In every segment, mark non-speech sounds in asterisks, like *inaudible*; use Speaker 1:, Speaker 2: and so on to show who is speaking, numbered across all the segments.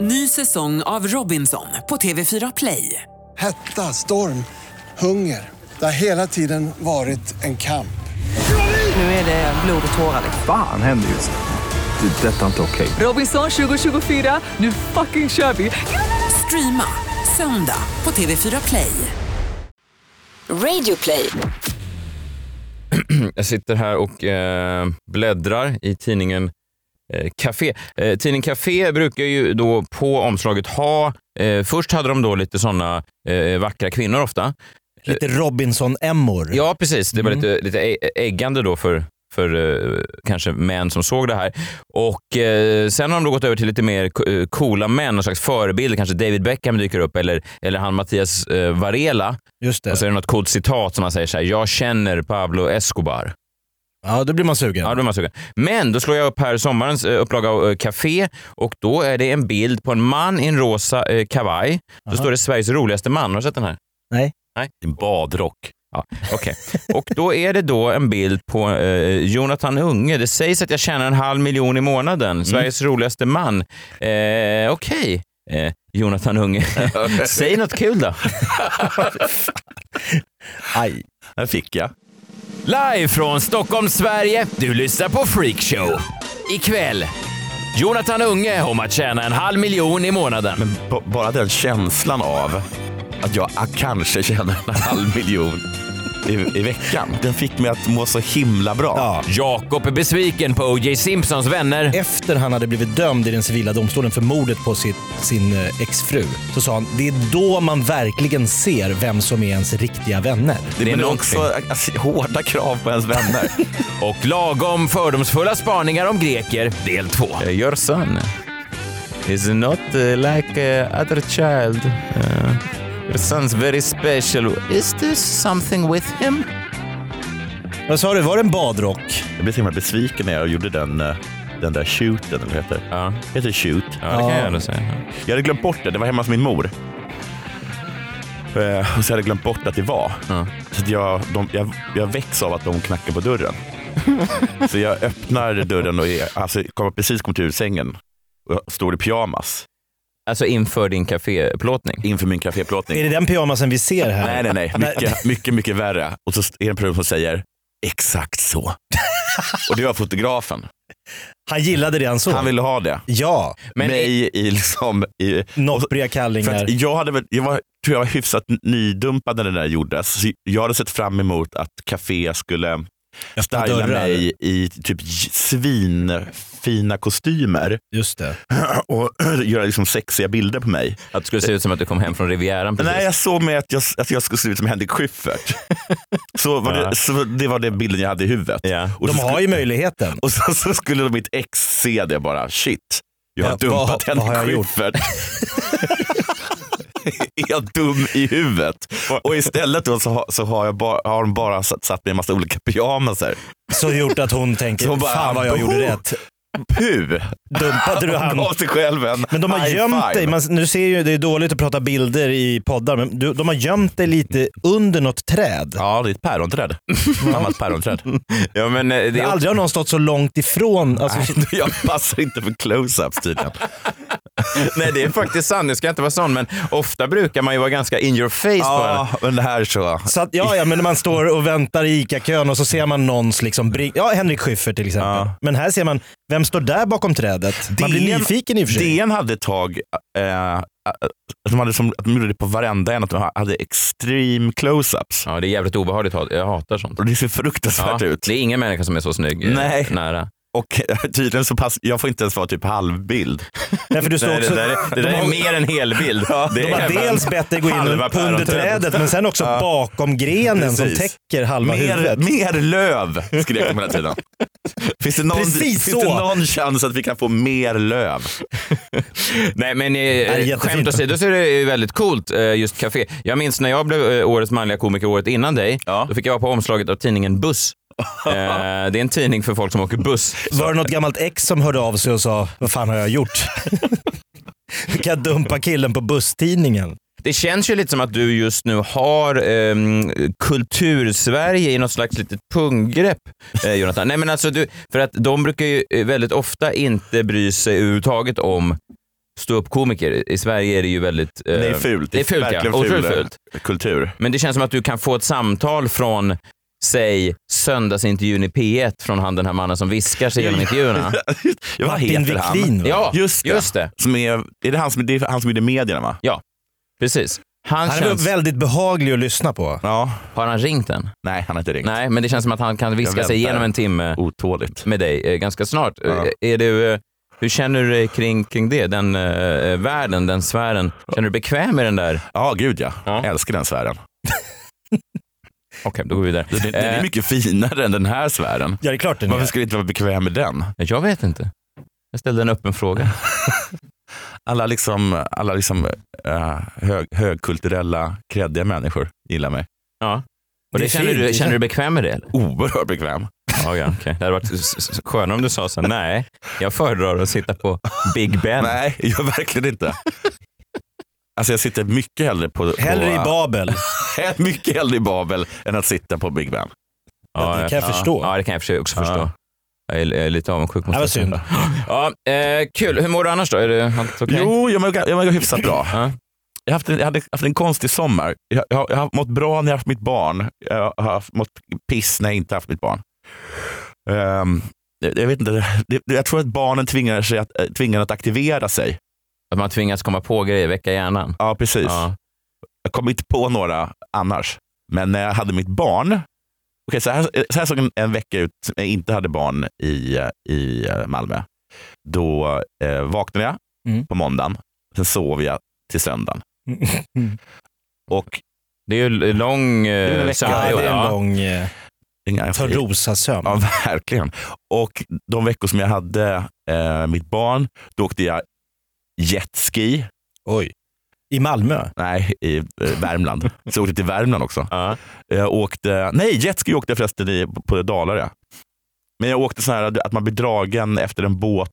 Speaker 1: Ny säsong av Robinson på TV4 Play.
Speaker 2: Hetta, storm, hunger. Det har hela tiden varit en kamp.
Speaker 1: Nu är det blod och tårar.
Speaker 3: Fan händer just nu. Det. är Detta är inte okej.
Speaker 1: Robinson 2024, nu fucking kör vi! Streama söndag på TV4 Play.
Speaker 4: Radio play.
Speaker 5: Jag sitter här och eh, bläddrar i tidningen eh, Café. Eh, tidningen Café brukar ju då på omslaget ha... Eh, först hade de då lite såna eh, vackra kvinnor ofta.
Speaker 6: Eh,
Speaker 7: Lite Robinson-emmor.
Speaker 5: Ja, precis. Det var lite, lite ä- äggande då för, för eh, kanske män som såg det här. Och eh, Sen har de då gått över till lite mer co- eh, coola män, någon slags förebilder. Kanske David Beckham dyker upp eller, eller han Mattias eh, Varela.
Speaker 7: Just det.
Speaker 5: Och så är det något coolt citat som han säger så här, “Jag känner Pablo Escobar”.
Speaker 7: ja, då blir man sugen.
Speaker 5: Ja, då är man sugen. Men då slår jag upp här sommarens eh, upplaga av eh, Café och då är det en bild på en man i en rosa eh, kavaj. Då står det Sveriges roligaste man. Har du sett den här?
Speaker 7: Nej.
Speaker 5: Nej. En badrock. Ja, Okej. Och då är det då en bild på eh, Jonathan Unge. Det sägs att jag tjänar en halv miljon i månaden. Sveriges roligaste man. Eh, Okej. Eh, Jonathan *laughs* Unge. Säg något kul då.
Speaker 7: Aj.
Speaker 5: Här fick jag. Live från Stockholm, Sverige. Du lyssnar på Freakshow. Ikväll. Jonathan Unge om att tjäna en halv miljon i månaden.
Speaker 6: Men b- bara den känslan av att jag ah, kanske tjänar en halv miljon i, i veckan. Den fick mig att må så himla bra.
Speaker 7: Ja.
Speaker 5: Jakob är besviken på O.J. Simpsons vänner.
Speaker 7: Efter han hade blivit dömd i den civila domstolen för mordet på sitt, sin eh, exfru så sa han det är då man verkligen ser vem som är ens riktiga vänner.
Speaker 6: Det,
Speaker 5: Det är
Speaker 6: men det är
Speaker 5: någonting.
Speaker 6: också alltså, hårda krav på ens
Speaker 5: *laughs*
Speaker 6: vänner.
Speaker 5: Och lagom fördomsfulla spaningar om greker, del två. Eh, Your son is not uh, like uh, other child. Uh, your son's very special. Is this something with him?
Speaker 7: Vad sa du, var det en badrock?
Speaker 6: jag blev så himla besviken när jag gjorde den, eh, den där shooten, eller vad heter det?
Speaker 5: Ja,
Speaker 6: Heter det shoot?
Speaker 5: ja det kan jag ändå säga.
Speaker 6: Jag hade glömt bort det, det var hemma hos min mor. Eh, och så hade jag glömt bort att det var.
Speaker 5: Ja.
Speaker 6: Så att jag, de, jag, jag väcks av att de knackar på dörren. så jag öppnar dörren och är, alltså, kommer precis kommit ur sängen och jag står i pyjamas
Speaker 5: Alltså inför din kaféplåtning.
Speaker 6: inför min
Speaker 7: Är
Speaker 6: kaféplåtning.
Speaker 7: det den pyjamasen vi ser här?
Speaker 6: Nej, nej, nej. Mycket, mycket, mycket värre. Och så är det en person som säger exakt så. och det var fotografen.
Speaker 7: Han gillade det han såg?
Speaker 6: Han ville ha det.
Speaker 7: Ja,
Speaker 5: Men-
Speaker 6: Mig i liksom... I,
Speaker 7: noppriga
Speaker 6: För
Speaker 7: kallingar.
Speaker 6: att jag, hade väl, jag var, tror jag var hyfsat nydumpad när det där gjordes. Så jag hade sett fram emot att Café skulle
Speaker 7: Öppna
Speaker 6: styla
Speaker 7: dörrar.
Speaker 6: mig i typ j- svinfina kostymer
Speaker 7: Just det.
Speaker 6: och *clears throat* göra liksom sexiga bilder på mig.
Speaker 5: Att det skulle se ut som att du kom hem från Rivieran precis.
Speaker 6: Nej, jag såg mig att jag, att jag skulle se ut som Henrik Schyffert. *laughs* så, var
Speaker 5: Ja.
Speaker 6: det, så det var den bilden jag hade i huvudet.
Speaker 5: Ja.
Speaker 6: Och,
Speaker 7: De
Speaker 6: så,
Speaker 7: har ju möjligheten.
Speaker 6: och så, så skulle mitt ex se det bara, shit, jag har
Speaker 7: Ja, vad-
Speaker 6: dumpat
Speaker 7: vad har jag
Speaker 6: Henrik
Speaker 7: gjort?
Speaker 6: Schyffert. *laughs* är jag dum i huvudet? Och istället då så, har- så har, jag bara, har de bara satt, satt mig i en massa olika pyjamaser.
Speaker 7: Så gjort att hon tänker,
Speaker 6: Så bara,
Speaker 7: fan vad jag gjorde
Speaker 6: "Boho!"
Speaker 7: rätt.
Speaker 6: Puh!
Speaker 7: Dumpade du han?
Speaker 6: Gav sig själv en
Speaker 7: Men de har
Speaker 6: high
Speaker 7: gömt
Speaker 6: five.
Speaker 7: dig. Man, nu ser ju, det är dåligt att prata bilder i poddar, men du, de har gömt dig lite under något träd.
Speaker 6: Ja, det är ett päronträd. Gammalt
Speaker 5: *laughs*
Speaker 6: päronträd.
Speaker 5: Ja, men eh, det är
Speaker 7: Aldrig har någon stått så långt ifrån. Alltså,
Speaker 6: Nej, *laughs* jag passar inte för close-ups tydligen.
Speaker 5: *laughs* Nej, det är faktiskt sant. Jag ska inte vara sån, men ofta brukar man ju vara ganska in your face på
Speaker 6: Ja,
Speaker 5: en.
Speaker 6: men det här så.
Speaker 7: Så att, ja, ja, men när man står och väntar i ICA-kön och så ser man någons, liksom, bring, ja Henrik Schyffert till exempel.
Speaker 6: Ja.
Speaker 7: Men här ser man, vem står där bakom trädet? Man blir
Speaker 6: DN
Speaker 7: nyfiken i och för sig.
Speaker 6: DN hade ett tag, eh, att de, hade som, att de gjorde det på varenda en, att de hade extreme close-ups.
Speaker 5: Ja, det är jävligt obehagligt. hat. Jag hatar sånt.
Speaker 6: Och det ser
Speaker 5: Ja,
Speaker 6: fruktansvärt ut.
Speaker 5: det är ingen människa som är så snygg eh,
Speaker 6: Nej.
Speaker 5: nära.
Speaker 6: Och *laughs* tydligen så pass, jag får inte ens vara typ halvbild.
Speaker 7: Nej, för du står
Speaker 5: Nej,
Speaker 7: också,
Speaker 5: det, där är, det där
Speaker 7: de
Speaker 5: är
Speaker 7: har-
Speaker 5: mer än helbild. Det
Speaker 7: de har
Speaker 5: är
Speaker 7: dels bett dig gå in
Speaker 6: halva
Speaker 7: på under
Speaker 6: päronträdet.
Speaker 7: trädet, men sen också bakom grenen som
Speaker 6: Precis.
Speaker 7: täcker halva
Speaker 6: Mer,
Speaker 7: huvudet.
Speaker 6: mer löv, skrek de hela tiden. Finns det, någon,
Speaker 7: Precis
Speaker 6: finns
Speaker 7: så.
Speaker 6: det någon chans att vi kan få mer löv?
Speaker 5: Nej, men eh,
Speaker 7: jättefint.
Speaker 5: skämt åsido så är det ju väldigt coolt eh, just café. Jag minns när jag blev eh, årets manliga komiker året innan dig.
Speaker 6: Ja.
Speaker 5: Då fick jag vara på omslaget av tidningen Buss. Eh, det är en tidning för folk som åker buss.
Speaker 7: Var det något gammalt ex som hörde av sig och sa, vad fan har jag gjort? *laughs* kan jag dumpa killen på busstidningen?
Speaker 5: Det känns ju lite som att du just nu har ehm, kultursverige i något slags litet punggrepp, eh, Jonathan. Nej, men alltså du, för att de brukar ju eh, väldigt ofta inte bry sig överhuvudtaget om ståuppkomiker. I Sverige är det ju väldigt... eh,
Speaker 6: Det är fult.
Speaker 5: Det är fult, ja.
Speaker 6: verkligen
Speaker 5: Otroligt
Speaker 6: ful, eh,
Speaker 5: fult.
Speaker 6: Kultur. *laughs*
Speaker 5: Men det känns som att du kan få ett samtal från Säg söndagsintervjun i P1 från han den här mannen som viskar sig
Speaker 6: *laughs*
Speaker 5: genom intervjuerna.
Speaker 6: Ja, Vad
Speaker 7: Martin
Speaker 6: heter han?
Speaker 7: Wiklin, va?
Speaker 5: Ja,
Speaker 6: Just det.
Speaker 5: just det.
Speaker 6: Som är, är det, han som, det är han som är i medierna va?
Speaker 5: Precis. Han,
Speaker 7: Han är
Speaker 5: känns...
Speaker 7: väldigt behaglig att lyssna på.
Speaker 6: Ja.
Speaker 5: Har han ringt den?
Speaker 6: Nej, han har inte ringt.
Speaker 5: Nej, men det känns som att han kan viska sig
Speaker 6: väntar.
Speaker 5: igenom en timme
Speaker 6: Otåligt.
Speaker 5: med dig eh, ganska snart.
Speaker 6: Ja.
Speaker 5: Eh, Är du, eh, hur känner du dig kring, kring det? Den eh, världen, den sfären. Känner du dig bekväm i den där?
Speaker 6: Ja, gud ja.
Speaker 5: Ja.
Speaker 6: Jag älskar den sfären.
Speaker 5: Okej, då går vi vidare.
Speaker 6: Den, den är
Speaker 5: Eh,
Speaker 6: mycket finare än den här sfären.
Speaker 7: Ja, det är klart den
Speaker 6: Varför
Speaker 7: är.
Speaker 6: skulle jag inte vara bekväm med den?
Speaker 5: Eh, jag vet inte. Jag ställde en öppen fråga.
Speaker 6: Alla, liksom, alla liksom, eh, hög, högkulturella, kreddiga människor gillar mig.
Speaker 5: Ja. Och
Speaker 7: Det
Speaker 5: det
Speaker 7: är
Speaker 5: känner,
Speaker 7: fint, det
Speaker 5: du,
Speaker 7: är
Speaker 5: känner du
Speaker 7: fint.
Speaker 5: dig bekväm med det? Eller?
Speaker 6: Oerhört bekväm.
Speaker 5: Ja, ja, okej. Det hade varit s- s- skönare om du sa så här, nej, jag föredrar att sitta på Big Ben.
Speaker 6: Nej, jag verkligen inte. Alltså jag sitter mycket hellre på... *laughs*
Speaker 7: Hellre i
Speaker 6: på,
Speaker 7: Babel.
Speaker 6: mycket hellre i Babel än att sitta på Big Ben.
Speaker 7: det kan jag förstå.
Speaker 5: Ja, det kan jag för- också
Speaker 6: Ja.
Speaker 5: förstå. Jag är, jag är lite avundsjuk. måste
Speaker 7: Det var
Speaker 5: jag säga.
Speaker 7: synd.
Speaker 5: Ja, eh, kul. Hur mår du annars då? Är det allt okej?
Speaker 6: Jo, jag mår, jag mår hyfsat bra.
Speaker 5: Ja.
Speaker 6: Jag, har haft en, jag hade haft en konstig sommar. Jag, jag, har- jag har mått bra när jag har haft mitt barn. Jag har haft, mått piss när jag inte haft mitt barn. Ehm, jag, jag, vet inte, det, jag tror att barnen tvingar, sig att, eh, tvingar att aktivera sig.
Speaker 5: Att man tvingas komma på grejer, väcka hjärnan.
Speaker 6: Ja, precis.
Speaker 5: Ja.
Speaker 6: Jag kom inte på några annars. Men när jag hade mitt barn, okay, så, här, så här såg en, en vecka ut när jag inte hade barn i, eh, i eh, Malmö. Då eh, vaknade jag
Speaker 7: Mm.
Speaker 6: på måndagen, sen sov jag till söndagen. *laughs* Och
Speaker 5: Det är ju lång
Speaker 6: är en
Speaker 5: eh,
Speaker 6: vecka.
Speaker 7: Ja,
Speaker 5: sömnperiod.
Speaker 7: det är en
Speaker 5: ja.
Speaker 7: lång eh,
Speaker 6: inga-
Speaker 7: Törnrosasömn.
Speaker 6: Ja, verkligen. Och de veckor som jag hade eh, mitt barn, då åkte jag jetski.
Speaker 7: Oj. I Malmö.
Speaker 6: Nej, i eh, Värmland.
Speaker 5: *laughs*
Speaker 6: Så jag åkte till Värmland också.
Speaker 5: Ja.
Speaker 6: Jag åkte, nej, jetski åkte jag förresten i, på Dalarö. Men jag åkte så här att man blir dragen efter en båt.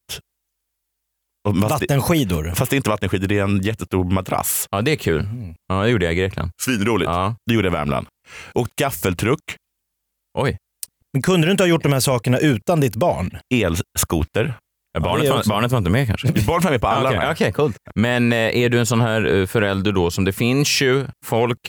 Speaker 6: Och fast det-
Speaker 7: Vattenskidor.
Speaker 6: Fast det är inte vattenskidor, det är en jättestor madrass.
Speaker 5: ja, det är kul.
Speaker 6: Mm.
Speaker 5: Ja, det gjorde jag i Grekland.
Speaker 6: Svinroligt.
Speaker 5: Ja.
Speaker 6: Det gjorde jag i Värmland. Åkt gaffeltruck,
Speaker 5: Oj.
Speaker 7: Men kunde du inte ha gjort de här sakerna utan ditt barn?
Speaker 6: elskoter.
Speaker 5: Ja,
Speaker 7: det
Speaker 5: barnet,
Speaker 7: är
Speaker 5: var,
Speaker 7: också-
Speaker 5: barnet var inte med kanske?
Speaker 6: Mitt barn var med på *laughs* alla
Speaker 5: Okej,
Speaker 6: de här.
Speaker 5: okej, coolt. Men eh, är du en sån här eh, förälder då som det finns ju folk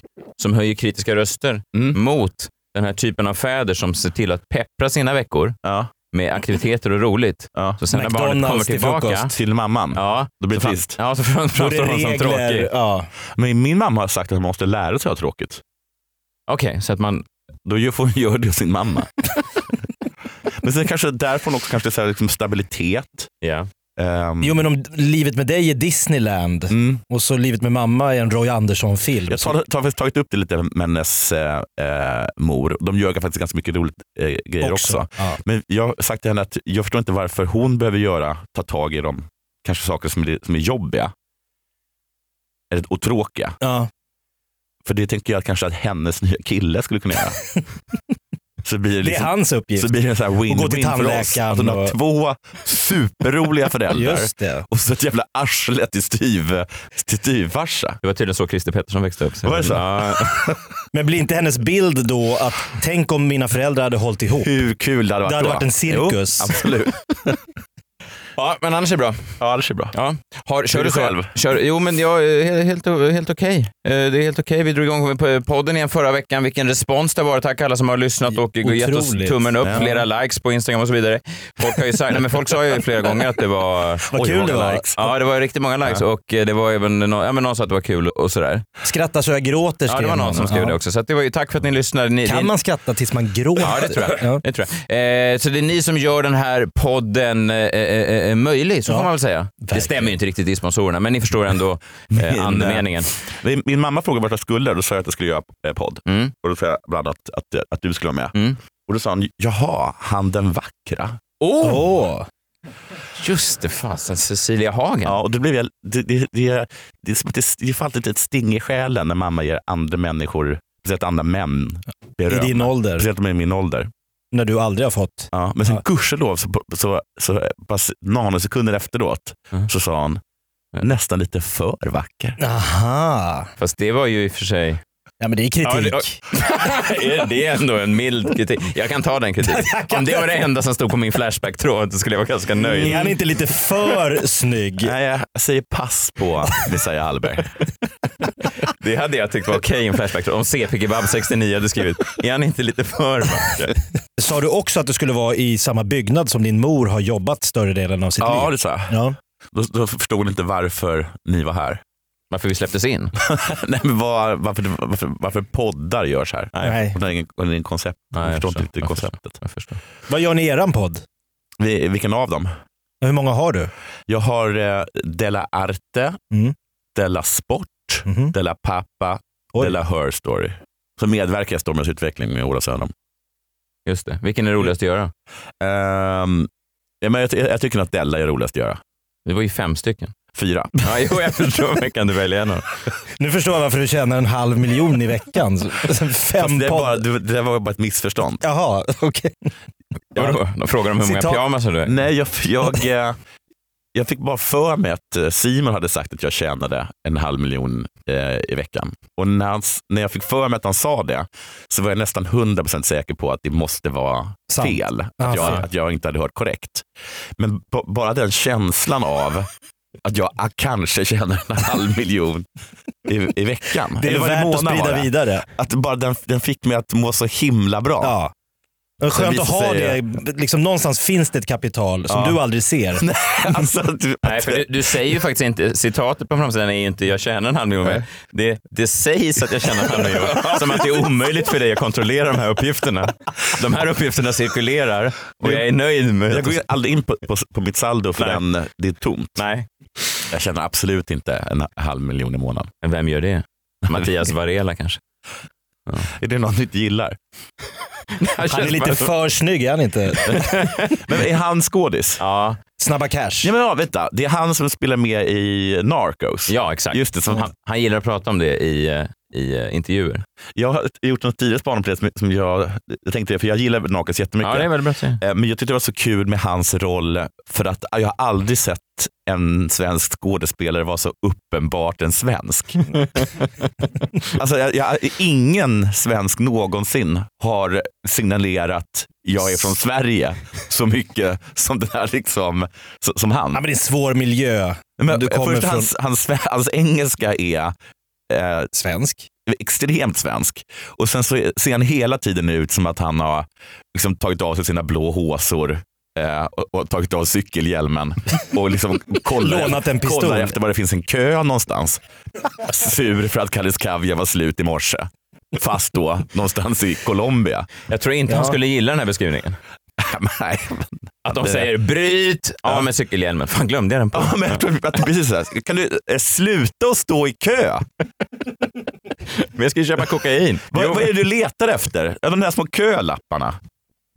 Speaker 5: som höjer kritiska röster
Speaker 6: Mm.
Speaker 5: mot den här typen av fäder som ser till att peppra sina veckor
Speaker 6: Ja,
Speaker 5: med aktiviteter och roligt.
Speaker 6: ja.
Speaker 5: Så sen när barnet
Speaker 7: McDonald's
Speaker 5: kommer
Speaker 7: till
Speaker 5: tillbaka.
Speaker 7: frukost.
Speaker 6: Till mamman.
Speaker 5: Ja,
Speaker 6: Då blir det
Speaker 5: så fan-
Speaker 6: trist.
Speaker 5: Ja, så fram- framstår hon som tråkig.
Speaker 7: Ja.
Speaker 6: Men min mamma har sagt att man måste lära sig att ha tråkigt.
Speaker 5: Okej, så att man...
Speaker 6: Då gör- får hon göra det hos sin
Speaker 5: *laughs*
Speaker 6: mamma. Men sen kanske därifrån också kanske så här liksom stabilitet.
Speaker 5: Ja.
Speaker 6: Ehm,
Speaker 7: Jo men om livet med dig är Disneyland
Speaker 6: mm.
Speaker 7: och så livet med mamma är en Roy Andersson-film.
Speaker 6: Jag har tagit, tagit upp det lite med hennes eh, eh, mor. De gör faktiskt ganska mycket roligt eh, grejer också.
Speaker 7: Ja.
Speaker 6: Men jag har sagt till henne att jag förstår inte varför hon behöver göra, ta tag i de kanske saker som är, som är jobbiga. Eller, och tråkiga.
Speaker 7: Ja.
Speaker 6: För det tänker jag kanske att hennes *laughs* nya kille skulle kunna
Speaker 7: *laughs*
Speaker 6: göra. så blir det,
Speaker 7: Det är
Speaker 6: liksom,
Speaker 7: hans uppgift.
Speaker 6: Så blir det en sån här
Speaker 7: Och gå till
Speaker 6: win-win för oss.
Speaker 7: tandläkaren
Speaker 6: Att hon har
Speaker 7: och-
Speaker 6: två superroliga föräldrar
Speaker 7: *laughs* Just det.
Speaker 6: och så ett jävla arsle till styv- till styvfarsa.
Speaker 5: Det var tydligen så Christer Pettersson växte upp.
Speaker 6: Var det så? *laughs*
Speaker 5: Ja,
Speaker 7: Men blir inte hennes bild då att tänk om mina föräldrar hade hållit ihop?
Speaker 6: Hur kul det hade varit
Speaker 7: Det hade
Speaker 6: då?
Speaker 7: varit en cirkus.
Speaker 6: Jo, absolut.
Speaker 5: ja men annars är det bra.
Speaker 6: Ja, det ser bra.
Speaker 5: Ja. Har, kör
Speaker 6: Hur
Speaker 5: du
Speaker 6: är
Speaker 5: så?
Speaker 6: det själv?
Speaker 5: Kör, jo, men jag är he- helt, o- helt okej. Eh, Det är helt okej. Vi drog igång på podden igen förra veckan. Vilken respons det har varit. Tack alla som har lyssnat och gett oss
Speaker 7: Otroligt.
Speaker 5: tummen upp.
Speaker 7: Ja.
Speaker 5: Flera likes på Instagram och så vidare. Folk, har ju sagt, nej, men folk sa ju flera gånger att det var...
Speaker 7: Vad kul
Speaker 6: många
Speaker 7: det var.
Speaker 6: likes.
Speaker 5: Ja, det var riktigt många likes och eh, det var även någon, ja, men någon sa att det var kul och sådär.
Speaker 7: Skratta så jag gråter
Speaker 5: Ja, det
Speaker 7: skrev
Speaker 5: var någon som skrev det också. Så att det var ju, tack för att ni lyssnade. Ni, ni,
Speaker 7: Kan man skratta tills man gråter?
Speaker 5: Ja, det tror jag.
Speaker 7: Ja.
Speaker 5: Det tror jag. Eh, så det är ni som gör den här podden eh, eh, eh, möjlig, så
Speaker 7: Ja.
Speaker 5: får man väl säga. Det
Speaker 7: Verkligen.
Speaker 5: stämmer ju inte riktigt i sponsorerna, men ni förstår ändå
Speaker 6: eh,
Speaker 5: eh, andemeningen.
Speaker 6: Min, min mamma frågade vart jag skulle då sa jag att jag skulle göra eh, podd.
Speaker 5: Mm.
Speaker 6: Och då sa jag bland annat att, att, att du skulle vara med.
Speaker 5: Mm.
Speaker 6: Och då sa hon, jaha, han den vackra.
Speaker 5: Åh,
Speaker 7: Åh.
Speaker 5: just det, fasen Cecilia Hagen.
Speaker 6: Ja, och då blev jag, det, det, det, det, är som att det, det får alltid ett sting i själen när mamma ger andra människor, speciellt andra män,
Speaker 7: I
Speaker 6: beröm.
Speaker 7: din ålder,
Speaker 6: Speciellt de är i min ålder.
Speaker 7: när du aldrig har fått.
Speaker 6: Ja, men sen
Speaker 7: Ja.
Speaker 6: gudskelov, så, så, så pass nanosekunder efteråt,
Speaker 5: Mm.
Speaker 6: så sa han
Speaker 5: Ja.
Speaker 6: nästan lite för vacker.
Speaker 7: Aha.
Speaker 5: Fast det var ju i och för sig... *laughs*
Speaker 7: Ja, men det är
Speaker 5: Ja,
Speaker 7: kritik.
Speaker 5: det- Är Det är ändå en mild kritik. Jag kan ta den kritiken. Om det var det enda som stod på min Flashback-tråd så skulle jag vara ganska
Speaker 7: Är
Speaker 5: nöjd.
Speaker 7: han inte lite för snygg?
Speaker 6: Nej, jag säger pass på Messiah Hallberg.
Speaker 5: Det hade jag tyckt var okej i en Flashback-tråd. Om CP Kebab 69 hade skrivit, är han inte lite för vacker?
Speaker 7: Sa du också att du skulle vara i samma byggnad som din mor har jobbat större delen av sitt
Speaker 6: Ja,
Speaker 7: liv?
Speaker 6: det sa jag.
Speaker 7: Ja.
Speaker 6: Då, då förstod ni inte varför ni var här.
Speaker 5: Varför vi släpptes in?
Speaker 6: Nej, men var, varför, varför, varför poddar görs här.
Speaker 7: Nej.
Speaker 6: Hon har ingen, hon har ingen koncept.
Speaker 5: Nej,
Speaker 6: jag
Speaker 5: jag
Speaker 6: förstår inte riktigt
Speaker 5: förstår. Jag förstår.
Speaker 6: konceptet.
Speaker 5: Jag förstår.
Speaker 7: Vad gör ni i eran podd?
Speaker 6: Vi, vilken av dem?
Speaker 7: Hur många har du?
Speaker 6: Jag har eh, Della Arte,
Speaker 7: Mm.
Speaker 6: Della Sport,
Speaker 7: Mhm.
Speaker 6: Della Pappa,
Speaker 7: Oj.
Speaker 6: Della Her Story. Så medverkar jag i Stormens utveckling med Ola Söderholm.
Speaker 5: Just det. Vilken är roligast att göra?
Speaker 6: Ehm, ja, men jag, ty- jag tycker nog att Della är roligast att göra.
Speaker 5: Det var ju fem stycken.
Speaker 6: Fyra.
Speaker 5: Ja, jo, jag *laughs* förstår. Men kan du välja en av dem?
Speaker 7: Nu förstår jag varför du tjänar en halv miljon i veckan. Fem
Speaker 6: Fast det, är
Speaker 7: podd...
Speaker 6: bara, det det var bara ett missförstånd.
Speaker 7: Jaha, okej.
Speaker 5: Vadå? De frågar om hur många
Speaker 7: Citat.
Speaker 5: pyjamasar du är.
Speaker 6: Nej, jag,
Speaker 7: *laughs*
Speaker 6: jag, eh, jag fick bara för mig att eh, Simon hade sagt att jag tjänade en halv miljon eh, i veckan. Och när, han, s- när jag fick för mig att han sa det så var jag nästan 100% säker på att det måste vara
Speaker 7: Sant.
Speaker 6: fel. Att,
Speaker 7: Ah,
Speaker 6: jag,
Speaker 7: fan.
Speaker 6: att jag inte hade hört korrekt. Men b- bara den känslan av att jag ah, kanske tjänar en halv miljon i, i veckan.
Speaker 7: Det
Speaker 6: Eller
Speaker 7: är
Speaker 6: var
Speaker 7: värt att
Speaker 6: månad var
Speaker 7: sprida
Speaker 6: det?
Speaker 7: vidare.
Speaker 6: Att bara den, den fick mig att må så himla bra.
Speaker 7: Ja. Men
Speaker 6: Sen
Speaker 7: Skönt att
Speaker 6: visar
Speaker 7: ha
Speaker 6: sig-
Speaker 7: det. Liksom, någonstans finns det ett kapital som
Speaker 6: Ja.
Speaker 7: du aldrig ser.
Speaker 6: *laughs* Alltså, att-
Speaker 5: Nej, för du, du säger ju faktiskt inte, citatet på framsidan är ju inte jag tjänar en halv miljon. mer." Det, det sägs att jag tjänar en halv miljon. Som att det är omöjligt för dig att kontrollera de här uppgifterna. De här uppgifterna cirkulerar och jag är nöjd med
Speaker 6: Jag går ju aldrig in på, på, på mitt saldo för
Speaker 5: Nej.
Speaker 6: den, det är tomt.
Speaker 5: Nej,
Speaker 6: Jag tjänar absolut inte en halv miljon i månaden.
Speaker 5: men vem gör det? Mattias Varela kanske?
Speaker 6: Är det någon du inte gillar?
Speaker 7: Han är lite för snygg, är
Speaker 6: *laughs*
Speaker 7: han inte?
Speaker 6: Men är han skådis?
Speaker 5: Ja,
Speaker 7: Snabba cash.
Speaker 6: Ja, men ja, vänta. Det är han som spelar med i Narcos.
Speaker 5: ja exakt.
Speaker 6: Just det, som han,
Speaker 5: Han, han gillar att prata om det i, eh, i eh, intervjuer.
Speaker 6: jag har gjort något tidigare spaning på det som, som jag tänkte, för jag gillar Narcos jättemycket.
Speaker 5: Ja, det är väldigt bra att säga.
Speaker 6: Eh, Men jag tyckte det var så kul med hans roll för att jag har aldrig sett en svensk skådespelare vara så uppenbart en svensk.
Speaker 7: *laughs*
Speaker 6: alltså, jag, jag, ingen svensk någonsin har signalerat jag är från Sverige så mycket som den här liksom, s- som han.
Speaker 7: Ja, men det är en svår miljö.
Speaker 6: Men
Speaker 7: Men, du kommer
Speaker 6: först,
Speaker 7: från
Speaker 6: hans, hans, sve- hans engelska är eh,
Speaker 7: svensk.
Speaker 6: extremt svensk. Och sen så ser han hela tiden ut som att han har liksom tagit av sig sina blå håsor eh, och, och tagit av cykelhjälmen och liksom kollar,
Speaker 7: Lånat en pistol.
Speaker 6: kollar efter var det finns en kö någonstans. Sur för att Kalles Kaviar var slut i morse. Fast då någonstans i Colombia. *laughs*
Speaker 5: Jag tror inte han skulle gilla den här beskrivningen.
Speaker 6: Nej,
Speaker 5: Att de
Speaker 6: Det-
Speaker 5: säger bryt av med cykelhjälmen. Fan, glömde jag den på?
Speaker 6: ja, men jag tror att det är precis så här. Kan du eh, sluta att stå i kö?
Speaker 5: Men jag ska ju köpa kokain.
Speaker 6: Vad,
Speaker 5: Jo.
Speaker 6: vad är det du letar efter? Ja, De där små kölapparna.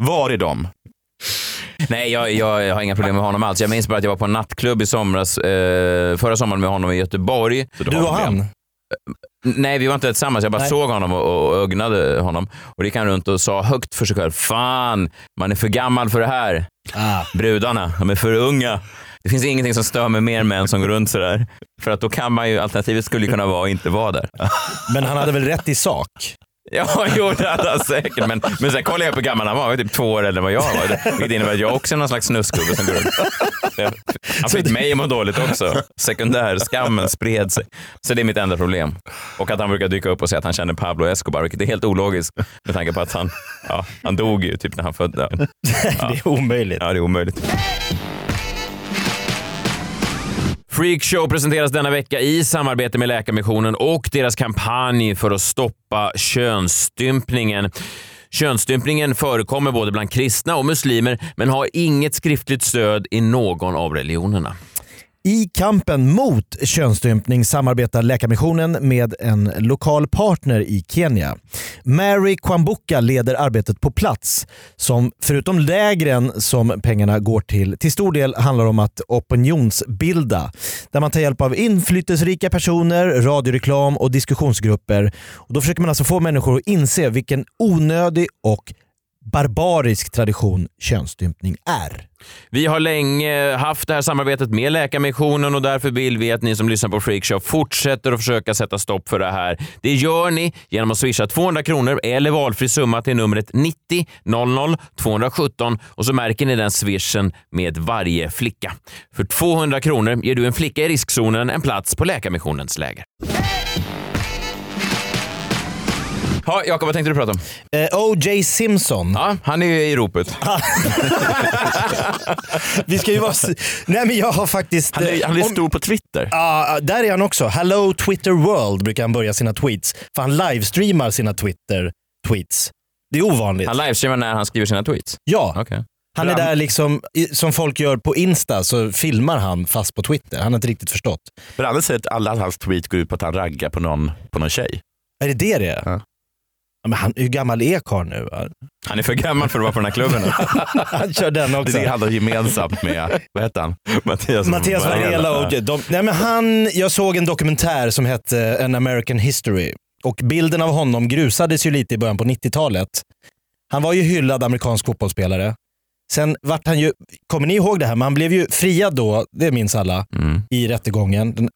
Speaker 6: Var är de?
Speaker 5: Nej, jag, jag, jag har inga problem med honom alls. Jag minns bara att jag var på en nattklubb i somras, eh, förra sommaren med honom i Göteborg.
Speaker 7: Du och han.
Speaker 5: N- Nej, vi var inte tillsammans. Jag bara
Speaker 7: Nej.
Speaker 5: såg honom och, och, och ögnade honom. Och gick han runt och sa högt för sig själv, fan, man är för gammal för det här.
Speaker 7: Ah.
Speaker 5: Brudarna, de är för unga. Det finns ingenting som stör mig mer med än som går runt sådär. För att då kan man ju, alternativet skulle ju kunna vara att inte vara där.
Speaker 7: Men han hade väl rätt i sak?
Speaker 5: *laughs* Ja, jo, det hade han säkert. Men, men sen kollade jag på hur gammal han var. Han var typ två år äldre än vad jag var. Det- Vilket innebär att jag också är någon slags snuskgubbe som går runt. Jag- Han fick mig att må dåligt också. Sekundärskammen spred sig. Så det är mitt enda problem. Och att han brukar dyka upp och säga att han känner Pablo Escobar, vilket är helt ologiskt med tanke på att han, ja, han dog ju typ när han föddes.
Speaker 7: Det är omöjligt.
Speaker 5: Ja, det är omöjligt. Freakshow presenteras denna vecka i samarbete med Läkarmissionen och deras kampanj för att stoppa könsstympningen. Könsstympningen förekommer både bland kristna och muslimer men har inget skriftligt stöd i någon av religionerna.
Speaker 7: I kampen mot könsstympning samarbetar Läkarmissionen med en lokal partner i Kenya. Mary Kwambuka leder arbetet på plats som förutom lägren som pengarna går till till stor del handlar om att opinionsbilda där man tar hjälp av inflytelserika personer, radioreklam och diskussionsgrupper. Och då försöker man alltså få människor att inse vilken onödig och barbarisk tradition könsstympning är.
Speaker 5: Vi har länge haft det här samarbetet med Läkarmissionen och därför vill vi att ni som lyssnar på Freakshow fortsätter att försöka sätta stopp för det här. Det gör ni genom att swisha 200 kronor eller valfri summa till numret 90 00 217 och så märker ni den swishen med varje flicka. För 200 kronor ger du en flicka i riskzonen en plats på Läkarmissionens läger. Ja, Jakob, vad tänkte du prata om?
Speaker 7: Eh, O.J. Simpson.
Speaker 5: Ja, han är ju i ropet.
Speaker 7: Vi ska ju vara... s- Nej men jag har faktiskt... eh,
Speaker 6: Han är, han är
Speaker 7: om-
Speaker 6: stor på Twitter.
Speaker 7: Ja, där är han också. Hello Twitter World brukar han börja sina tweets. För han livestreamar sina Twitter-tweets. Det är ovanligt.
Speaker 5: Han livestreamar när han skriver sina tweets.
Speaker 7: ja,
Speaker 5: Okej.
Speaker 7: han är där liksom, i- som folk gör på Insta, så filmar han fast på Twitter. Han har inte riktigt förstått.
Speaker 6: Branne säger att alla hans tweet går ut på att han raggar på någon, på någon tjej.
Speaker 7: Är det det det är?
Speaker 6: Ja.
Speaker 7: Ja, Men han, hur gammal är karln nu? va?
Speaker 5: Han är för gammal för att vara på den här klubben.
Speaker 7: Han kör den
Speaker 6: Det är det
Speaker 7: också.
Speaker 6: han har gemensamt med, vad heter han?
Speaker 5: Mattias,
Speaker 6: Alltså,
Speaker 7: Mattias Varela och de, nej men han, Jag såg en dokumentär som hette eh, An American History. Och bilden av honom grusades ju lite i början på 90-talet. Han var ju hyllad amerikansk fotbollsspelare. Sen vart han ju, kommer ni ihåg det här, men han blev ju friad då, det minns alla,
Speaker 5: Mm.
Speaker 7: i rättegången. Den-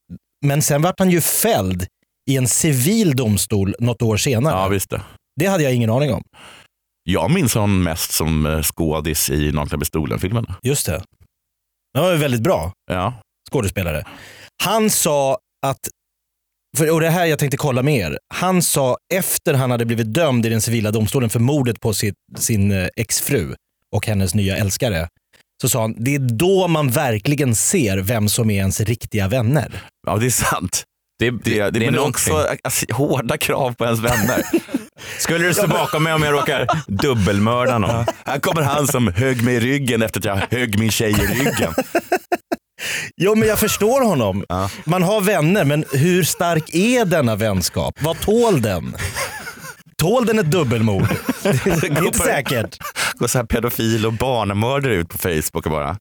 Speaker 7: Men sen vart han ju fälld i en civil domstol något år senare.
Speaker 6: Ja, visst det.
Speaker 7: Det hade jag ingen aning om.
Speaker 6: Jag minns honom mest som eh, skådis i Nakna med stolen-filmen.
Speaker 7: Just det. Det var ju väldigt bra.
Speaker 6: Ja.
Speaker 7: skådespelare. Han sa att, för, och det här jag tänkte kolla med er. Han sa efter han hade blivit dömd i den civila domstolen för mordet på sitt, sin eh, exfru och hennes nya älskare. Så sa han, det är då man verkligen ser vem som är ens riktiga vänner.
Speaker 6: ja, det är sant.
Speaker 5: Det, det, det, är
Speaker 6: men
Speaker 5: någonting.
Speaker 6: också alltså, hårda krav på ens vänner.
Speaker 5: Skulle du stå bakom mig om jag råkar dubbelmörda någon?
Speaker 6: Här kommer han som högg mig i ryggen efter att jag högg min tjej i ryggen.
Speaker 7: Jo men jag förstår honom. Man har vänner, men hur stark är denna vänskap? Vad tål den? Tål den ett dubbelmord? Det är inte säkert.
Speaker 6: Går så här pedofil och barnmördare ut på Facebook och bara.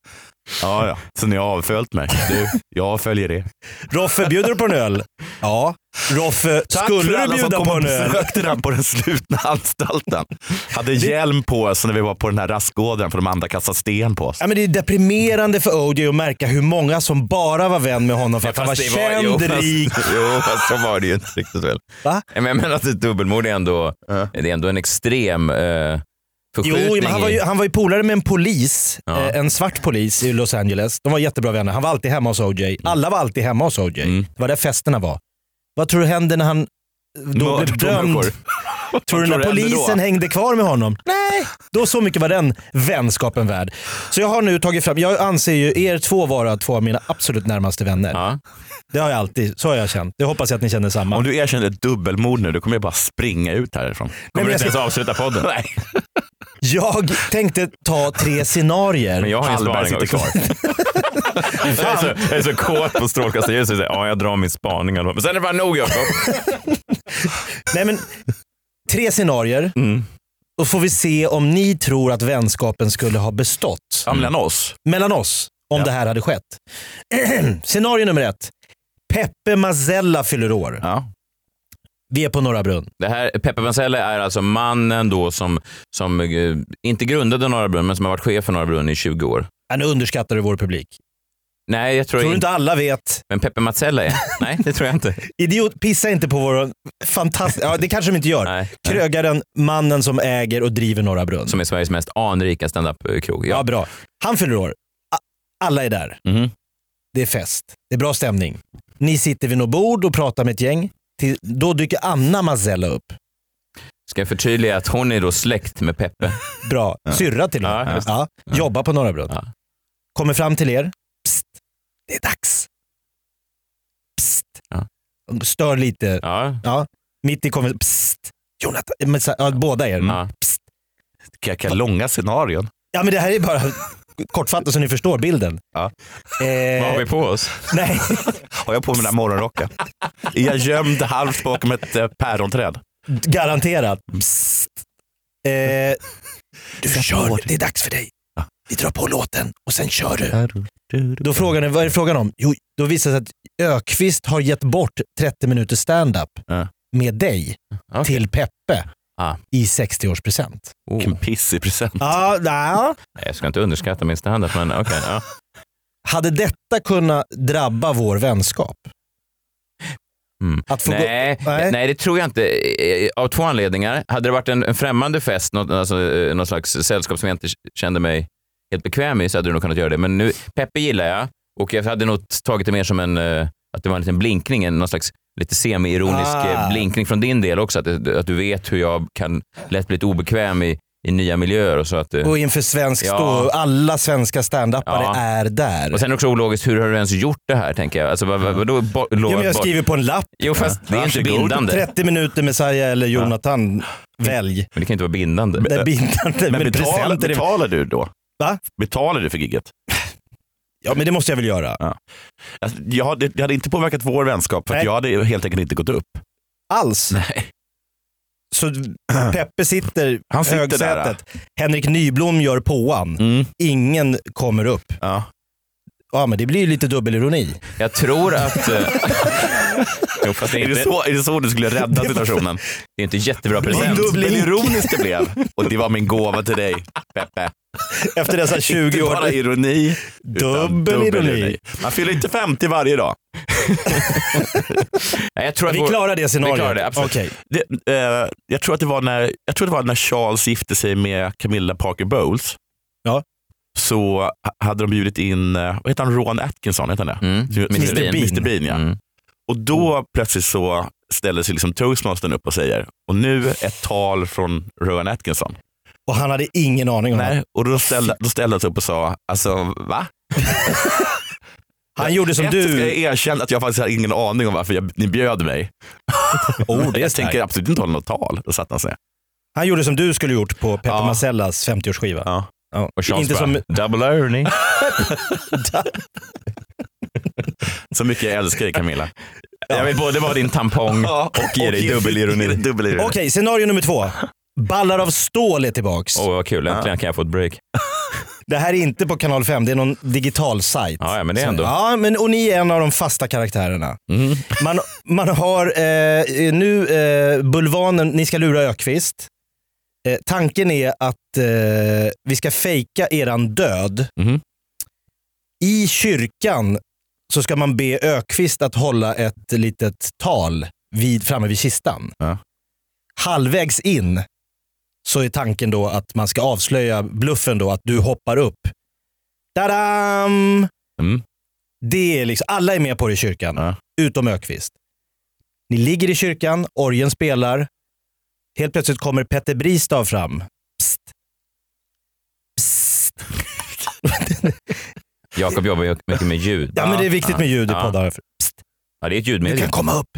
Speaker 6: Ja, ja. Så ni har avföljt mig. Du, jag följer er.
Speaker 7: Roffe, bjuder du på
Speaker 5: *laughs*
Speaker 7: en öl? Ja. Roffe, skulle du bjuda på en öl?
Speaker 6: besökte den på den slutna anstalten. Hade hjälm på oss när vi var på den här rastgården för de andra kastade sten på oss.
Speaker 7: Ja, men det är deprimerande för OJ att märka hur många som bara var vän med honom för att han var
Speaker 5: Fast det var-
Speaker 7: känd,
Speaker 5: jo, fast-
Speaker 7: rik.
Speaker 5: *laughs* Jo, fast så var det ju inte riktigt väl.
Speaker 7: Va?
Speaker 5: Men jag menar att ett dubbelmord är ändå, det är ändå en extrem eh, förskjutning.
Speaker 7: Jo, men han var, ju,
Speaker 5: i-
Speaker 7: han var ju polare med en polis,
Speaker 5: Ja.
Speaker 7: eh, en svart polis i Los Angeles. De var jättebra vänner. Han var alltid hemma hos OJ. Alla var alltid hemma hos OJ.
Speaker 5: Mm.
Speaker 7: Det var där festerna var. Vad tror du hände när han då
Speaker 6: Mördat
Speaker 5: *laughs*
Speaker 7: blev dömd?
Speaker 6: människor.
Speaker 7: Tror du
Speaker 6: Vad
Speaker 7: när
Speaker 6: tror du hände
Speaker 7: polisen
Speaker 6: då?
Speaker 7: hängde kvar med honom? Nej! Då så mycket var den vänskapen värd. Så jag har nu tagit fram, jag anser ju er två vara två av mina absolut närmaste vänner.
Speaker 5: Ja.
Speaker 7: Det har jag alltid, så har jag känt. Det hoppas jag att ni känner samma.
Speaker 6: Om du erkänner ett dubbelmord nu, då kommer jag bara springa ut härifrån.
Speaker 5: Kommer
Speaker 7: men
Speaker 5: du
Speaker 7: jag
Speaker 5: inte ens
Speaker 7: ska-
Speaker 5: avsluta
Speaker 7: *laughs*
Speaker 5: podden? Nej.
Speaker 7: Jag tänkte ta tre scenarier.
Speaker 5: Men jag har ingen
Speaker 6: Hallberg
Speaker 5: spaning
Speaker 6: sitter
Speaker 5: också.
Speaker 6: kvar. *laughs*
Speaker 5: Jag är, så, jag är så kåt på strålkastarljuset. så jag säger, Ja, jag drar min spaning. Men sen är det bara nog
Speaker 7: *laughs*
Speaker 5: Jakob.
Speaker 7: Nej, men, tre scenarier. Då får vi se om ni tror att vänskapen skulle ha bestått
Speaker 6: Ja, mellan oss.
Speaker 7: mellan oss om det här hade skett. *clears throat* Scenario nummer ett. Peppe Mazella fyller år.
Speaker 6: Ja.
Speaker 7: Vi är på Norra Brunn.
Speaker 5: Det här, Peppe Mansell är alltså mannen då som, som eh, inte grundade Norra Brunn, men som har varit chef för Norra Brunn i 20 år.
Speaker 7: Ja, nu underskattar du vår publik.
Speaker 5: Nej, jag tror,
Speaker 7: Tror du
Speaker 5: inte.
Speaker 7: inte alla vet?
Speaker 5: Men Peppe *laughs* Mazzella är? Nej, det tror jag inte.
Speaker 7: Idiot, pissa inte på vår fantastiska... Ja, det kanske de inte gör.
Speaker 5: Nej.
Speaker 7: Krögaren, mannen som äger och driver Norra Brunn.
Speaker 5: Som är Sveriges mest anrika standup-krog.
Speaker 7: Ja,
Speaker 5: Ja.
Speaker 7: bra. Han fyller år. A- Alla är där.
Speaker 5: Mhm.
Speaker 7: Det är fest. Det är bra stämning. Ni sitter vid något bord och pratar med ett gäng. Till, då dyker Anna Mazella upp.
Speaker 5: Ska jag förtydliga att hon är då släkt med *laughs* Peppe.
Speaker 7: Bra. Syrra till och
Speaker 5: Ja,
Speaker 7: med.
Speaker 5: just
Speaker 7: Ja, jobbar på Norra Brunn.
Speaker 5: Ja.
Speaker 7: Kommer fram till er. Psst, det är dags. Psst.
Speaker 5: Ja.
Speaker 7: Stör lite.
Speaker 5: Ja.
Speaker 7: Ja. Mitt i konversationen. Psst. Jonathan. Men så- Ja, båda er.
Speaker 6: Mm.
Speaker 5: Ja.
Speaker 7: Psst.
Speaker 6: Vilka långa scenarion.
Speaker 7: Ja, men det här är bara kortfattat så ni förstår bilden.
Speaker 6: Ja.
Speaker 7: Eh,
Speaker 5: Vad har vi på oss?
Speaker 7: Nej.
Speaker 6: Har jag på mig den här
Speaker 7: *laughs*
Speaker 6: morgonrocken? Är jag gömd halvt bakom ett eh, päronträd?
Speaker 7: Garanterat. Psst. Eh, du kör, det är dags för dig. Vi drar på låten och sen kör du. Då frågar ni, vad är det frågan om? Jo, då visar det sig att Ökvist har gett bort 30 minuter stand-up
Speaker 6: Ja.
Speaker 7: med dig
Speaker 5: Okej.
Speaker 7: till Peppe
Speaker 5: Ah. *laughs*
Speaker 7: i 60-årspresent.
Speaker 5: Oh.
Speaker 6: Vilken pissig present.
Speaker 7: Ja, nej.
Speaker 5: Nej, Jag ska inte underskatta min standup, men okej. ja.
Speaker 7: Hade detta kunnat drabba vår vänskap?
Speaker 5: Mm.
Speaker 7: Att få gå-
Speaker 5: Nej,
Speaker 7: Nej.
Speaker 5: nej. det tror jag inte. eh, Av två anledningar. Hade det varit en, en främmande fest, något, alltså, eh, någon slags sällskap som jag inte kände mig helt bekväm i, så hade du nog kunnat göra det. Men nu, Peppe gillar jag och jag hade nog tagit det mer som en, eh, att det var en liten blinkning, en, någon slags lite semi-ironisk
Speaker 7: Ah.
Speaker 5: eh, blinkning från din del också. Att, det- att du vet hur jag kan lätt bli lite obekväm i, i nya miljöer och så. Att, eh,
Speaker 7: Och inför svensk
Speaker 5: Ja.
Speaker 7: stå, alla svenska standupare
Speaker 5: Ja.
Speaker 7: är där.
Speaker 5: och sen också ologiskt, hur har du ens gjort det här, tänker jag. Alltså, vad, vad, vadå, bo,
Speaker 7: Jo, men jag
Speaker 5: bo-
Speaker 7: skriver på en lapp,
Speaker 5: Jo, fast det är inte
Speaker 6: Varsågod.
Speaker 5: bindande.
Speaker 7: 30 minuter Messiah eller Jonathan, välj.
Speaker 5: Men det kan inte vara bindande.
Speaker 7: Det är bindande, men,
Speaker 6: Men betalar,
Speaker 7: presenter är...
Speaker 6: betalar du då?
Speaker 7: Va?
Speaker 6: Betalar du för gigget?
Speaker 7: Ja, men det måste jag väl göra.
Speaker 6: Alltså, jag, hade- det hade inte påverkat vår vänskap för att
Speaker 7: Nej.
Speaker 6: jag hade helt enkelt inte gått upp.
Speaker 7: Alls.
Speaker 6: Nej.
Speaker 7: Så Peppe sitter,
Speaker 6: Han sitter
Speaker 7: högsätet. Henrik Nyblom gör påan.
Speaker 5: Mm.
Speaker 7: Ingen kommer upp.
Speaker 6: Ja.
Speaker 7: Ja, men det blir ju lite dubbelironi.
Speaker 5: Jag tror att... eh, jo, fast det är,
Speaker 6: Är, det
Speaker 5: inte,
Speaker 6: så, är det så du skulle rädda situationen?
Speaker 5: det är inte jättebra
Speaker 6: Vad
Speaker 5: present.
Speaker 6: dubbelironiskt det blev. Och det var min gåva till dig, Peppe.
Speaker 5: *laughs*
Speaker 7: Efter dessa 20
Speaker 6: Inte bara
Speaker 7: år.
Speaker 6: ironi, utan
Speaker 7: Dubbel ironi.
Speaker 6: dubbelironi. Man fyller inte 50 varje dag.
Speaker 5: Nej, jag tror att
Speaker 7: Vi
Speaker 5: vår-
Speaker 7: klarar det scenariot.
Speaker 5: Vi klarar det, absolut.
Speaker 7: Okej.
Speaker 6: Det, eh, jag, tror att det var när, jag tror det var när Charles gifte sig med Camilla Parker Bowles.
Speaker 7: Ja.
Speaker 6: Så ha- hade de bjudit in, eh, vad heter han, Ron Atkinson? Heter han det?
Speaker 5: Mm.
Speaker 6: Du-
Speaker 5: Mr. Bean.
Speaker 6: Mr. Bean ja.
Speaker 5: Mm.
Speaker 6: Och då plötsligt så ställer sig liksom toastmastern upp och säger, och nu ett tal från Rowan Atkinson.
Speaker 7: Och han hade ingen aning om det.
Speaker 6: Nej, och då ställde, då ställde han sig upp och sa, alltså va?
Speaker 7: Han gjorde som
Speaker 6: Ett, Ska jag
Speaker 7: du.
Speaker 6: erkänna att jag faktiskt hade ingen aning om varför jag, ni bjöd mig.
Speaker 7: Oh, *laughs* det
Speaker 6: *laughs*
Speaker 7: är
Speaker 6: jag tänker
Speaker 7: starkt.
Speaker 6: absolut inte hålla något tal. Då satt han sig.
Speaker 7: Han gjorde som du skulle gjort på Peppe
Speaker 6: Ja.
Speaker 7: Marcellas 50-årsskiva.
Speaker 6: Ja.
Speaker 7: Ja.
Speaker 5: Och Charles
Speaker 7: Inte
Speaker 5: bara,
Speaker 7: som...
Speaker 5: double
Speaker 7: *laughs*
Speaker 5: irony.
Speaker 6: Så mycket jag älskar dig Camilla.
Speaker 5: Jag vill både vara din tampong och ge
Speaker 6: *laughs*
Speaker 5: dig dubbelironi.
Speaker 6: dubbelironi.
Speaker 7: Okej, scenario nummer två. Ballar av stål är tillbaks.
Speaker 5: Åh, vad kul. Äntligen kan jag få ett break.
Speaker 7: Det här är inte på kanal 5, det är någon digital sajt.
Speaker 5: Ja, ja, men det är
Speaker 7: Så-
Speaker 5: ändå- Mm.
Speaker 7: Ja, men, och ni är en av de fasta karaktärerna. Man, man har eh, nu eh, Bulvanen, ni ska lura Ökvist. Eh, tanken är att eh, vi ska fejka eran död.
Speaker 5: Mm-hmm.
Speaker 6: Mhm.
Speaker 7: I kyrkan så ska man be Ökvist att hålla ett litet tal vid, framme vid kistan.
Speaker 6: Ja.
Speaker 7: Halvvägs in så är tanken då att man ska avslöja bluffen då att du hoppar upp. Tadam!
Speaker 6: Mm.
Speaker 7: Det är liksom, alla är med på det i kyrkan,
Speaker 6: Ja.
Speaker 7: utom Ökvist. Ni ligger i kyrkan, orgeln spelar. Helt plötsligt kommer Petter Bristav fram. Psst. Psst.
Speaker 5: Jakob jobbar ju mycket med ljud.
Speaker 7: Ja, men det är viktigt med ljud i
Speaker 5: Ja.
Speaker 7: poddar. Psst.
Speaker 5: Ja, det är ett
Speaker 7: Du
Speaker 5: ljudmedium.
Speaker 7: kan komma upp.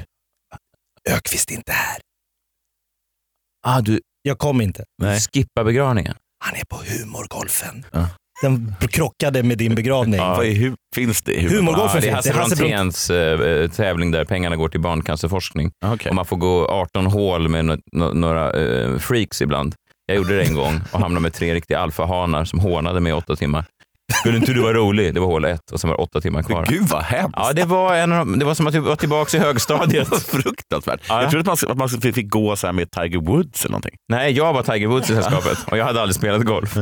Speaker 7: Ökvist är inte här.
Speaker 5: Ah, du
Speaker 7: Jag kom inte.
Speaker 6: Nej.
Speaker 5: skippar begravningen.
Speaker 7: Han är på humorgolfen.
Speaker 6: Ja.
Speaker 7: Den krockade med din begravning.
Speaker 6: Vad är, hur, finns det? Hur,
Speaker 7: Humorgolfen
Speaker 5: Ja, det är
Speaker 7: finns.
Speaker 5: Hasse
Speaker 7: Det är Hasse Brontén.
Speaker 5: Bronténs eh, tävling där pengarna går till barncancerforskning.
Speaker 6: Ah, okej.
Speaker 5: Och man får gå 18 hål med nå- nå- några eh, freaks ibland. Jag gjorde det en gång och hamnade med tre riktiga alfahanar som hånade mig i åtta timmar. Skulle inte du vara rolig? Det var hål ett och sen var det åtta timmar kvar.
Speaker 6: Gud vad hemskt.
Speaker 5: Ja, det var, en av de, det var som att vara tillbaka
Speaker 6: *laughs*
Speaker 5: i högstadiet.
Speaker 6: var fruktansvärt.
Speaker 5: Ja.
Speaker 6: Jag trodde att man, ska- att man fick fick gå så här med Tiger Woods eller någonting.
Speaker 5: Nej, jag var Tiger Woods i sällskapet och jag hade aldrig spelat golf.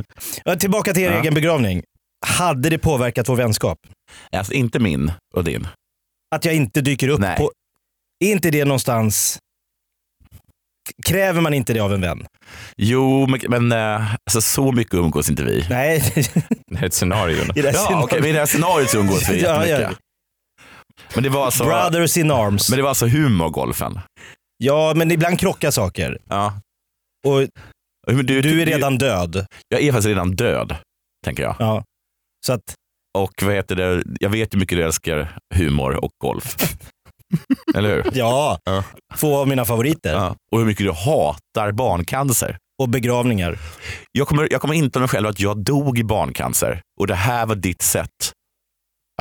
Speaker 7: Ja, Tillbaka till er
Speaker 6: Ja.
Speaker 7: egen begravning. Hade det påverkat vår vänskap?
Speaker 6: *laughs* Alltså inte min och din.
Speaker 7: Att jag inte dyker upp
Speaker 6: Nej.
Speaker 7: på... Är inte det någonstans... Kräver man inte det av en vän?
Speaker 6: Jo, men, men eh, alltså, så mycket umgås inte vi.
Speaker 7: Nej, *laughs*
Speaker 5: Det är ett scenario.
Speaker 7: i det här
Speaker 6: Ja,
Speaker 7: scenariot-
Speaker 6: okej, men i det här scenariot så umgås vi
Speaker 7: *laughs* Ja, ja.
Speaker 6: jättemycket. Men det var alltså,
Speaker 7: Brothers in arms.
Speaker 6: men det var alltså humorgolfen.
Speaker 7: Ja, men ibland krockar saker.
Speaker 6: Ja.
Speaker 7: Och
Speaker 6: Men du,
Speaker 7: du är redan död.
Speaker 6: Jag är faktiskt redan död, tänker jag.
Speaker 7: Ja. Så att,
Speaker 6: Och vad heter det, jag vet hur mycket du älskar humor och
Speaker 7: *laughs*
Speaker 6: golf. Eller hur?
Speaker 7: ja,
Speaker 6: Ja.
Speaker 7: två av mina favoriter.
Speaker 6: Ja. Och hur mycket du hatar barncancer.
Speaker 7: Och begravningar.
Speaker 6: Jag kommer, jag kommer inte mig själv att jag dog i barncancer och det här var ditt sätt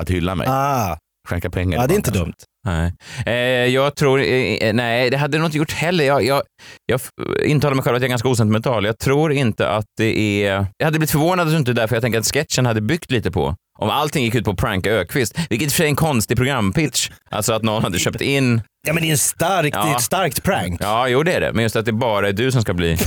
Speaker 6: att hylla mig.
Speaker 7: Ah,
Speaker 6: Skänka pengar.
Speaker 7: ja,
Speaker 6: till
Speaker 7: det är inte
Speaker 6: barncancer.
Speaker 7: dumt.
Speaker 5: Nej. Eh, jag tror, eh, eh, nej, det hade jag nog inte gjort heller. Jag, jag, jag f- intalar mig själv att jag är ganska osentimental. Jag tror inte att det är... Jag hade blivit förvånad att du inte är där, för jag tänker att sketchen hade byggt lite på om allting gick ut på att pranka Ökvist, vilket i och för sig är en konstig programpitch. Alltså att någon hade köpt in
Speaker 7: Ja men det är, en stark, det är
Speaker 5: Ja.
Speaker 7: ett starkt prank.
Speaker 5: Ja, jo det är det. Men just att det bara är du som ska bli...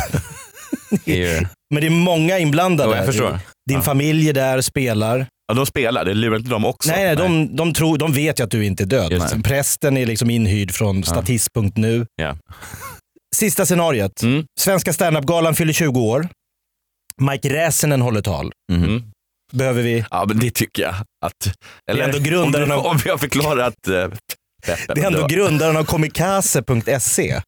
Speaker 5: Det är ju-
Speaker 7: Men det är många inblandade.
Speaker 5: Jo, jag förstår.
Speaker 7: Din
Speaker 5: Ja.
Speaker 7: familj är där, spelar.
Speaker 6: Ja, de spelar, det lurar inte de också.
Speaker 7: nej, nej, de, de, tror, de vet ju att du inte är död.
Speaker 5: Just det.
Speaker 7: Nej. Prästen är liksom inhyrd från statist.nu.
Speaker 5: Ja.
Speaker 7: Sista scenariet.
Speaker 5: Mm.
Speaker 7: Svenska standup-galan fyller 20 år. Mike Räsenen håller tal.
Speaker 5: Mhm.
Speaker 7: Behöver vi?
Speaker 6: Ja, men det tycker jag. Att,
Speaker 7: Det är ändå grundaren
Speaker 6: om, du,
Speaker 7: av-
Speaker 6: om vi har förklarat... eh, Peppe,
Speaker 7: Det är ändå grundaren av komikase.se.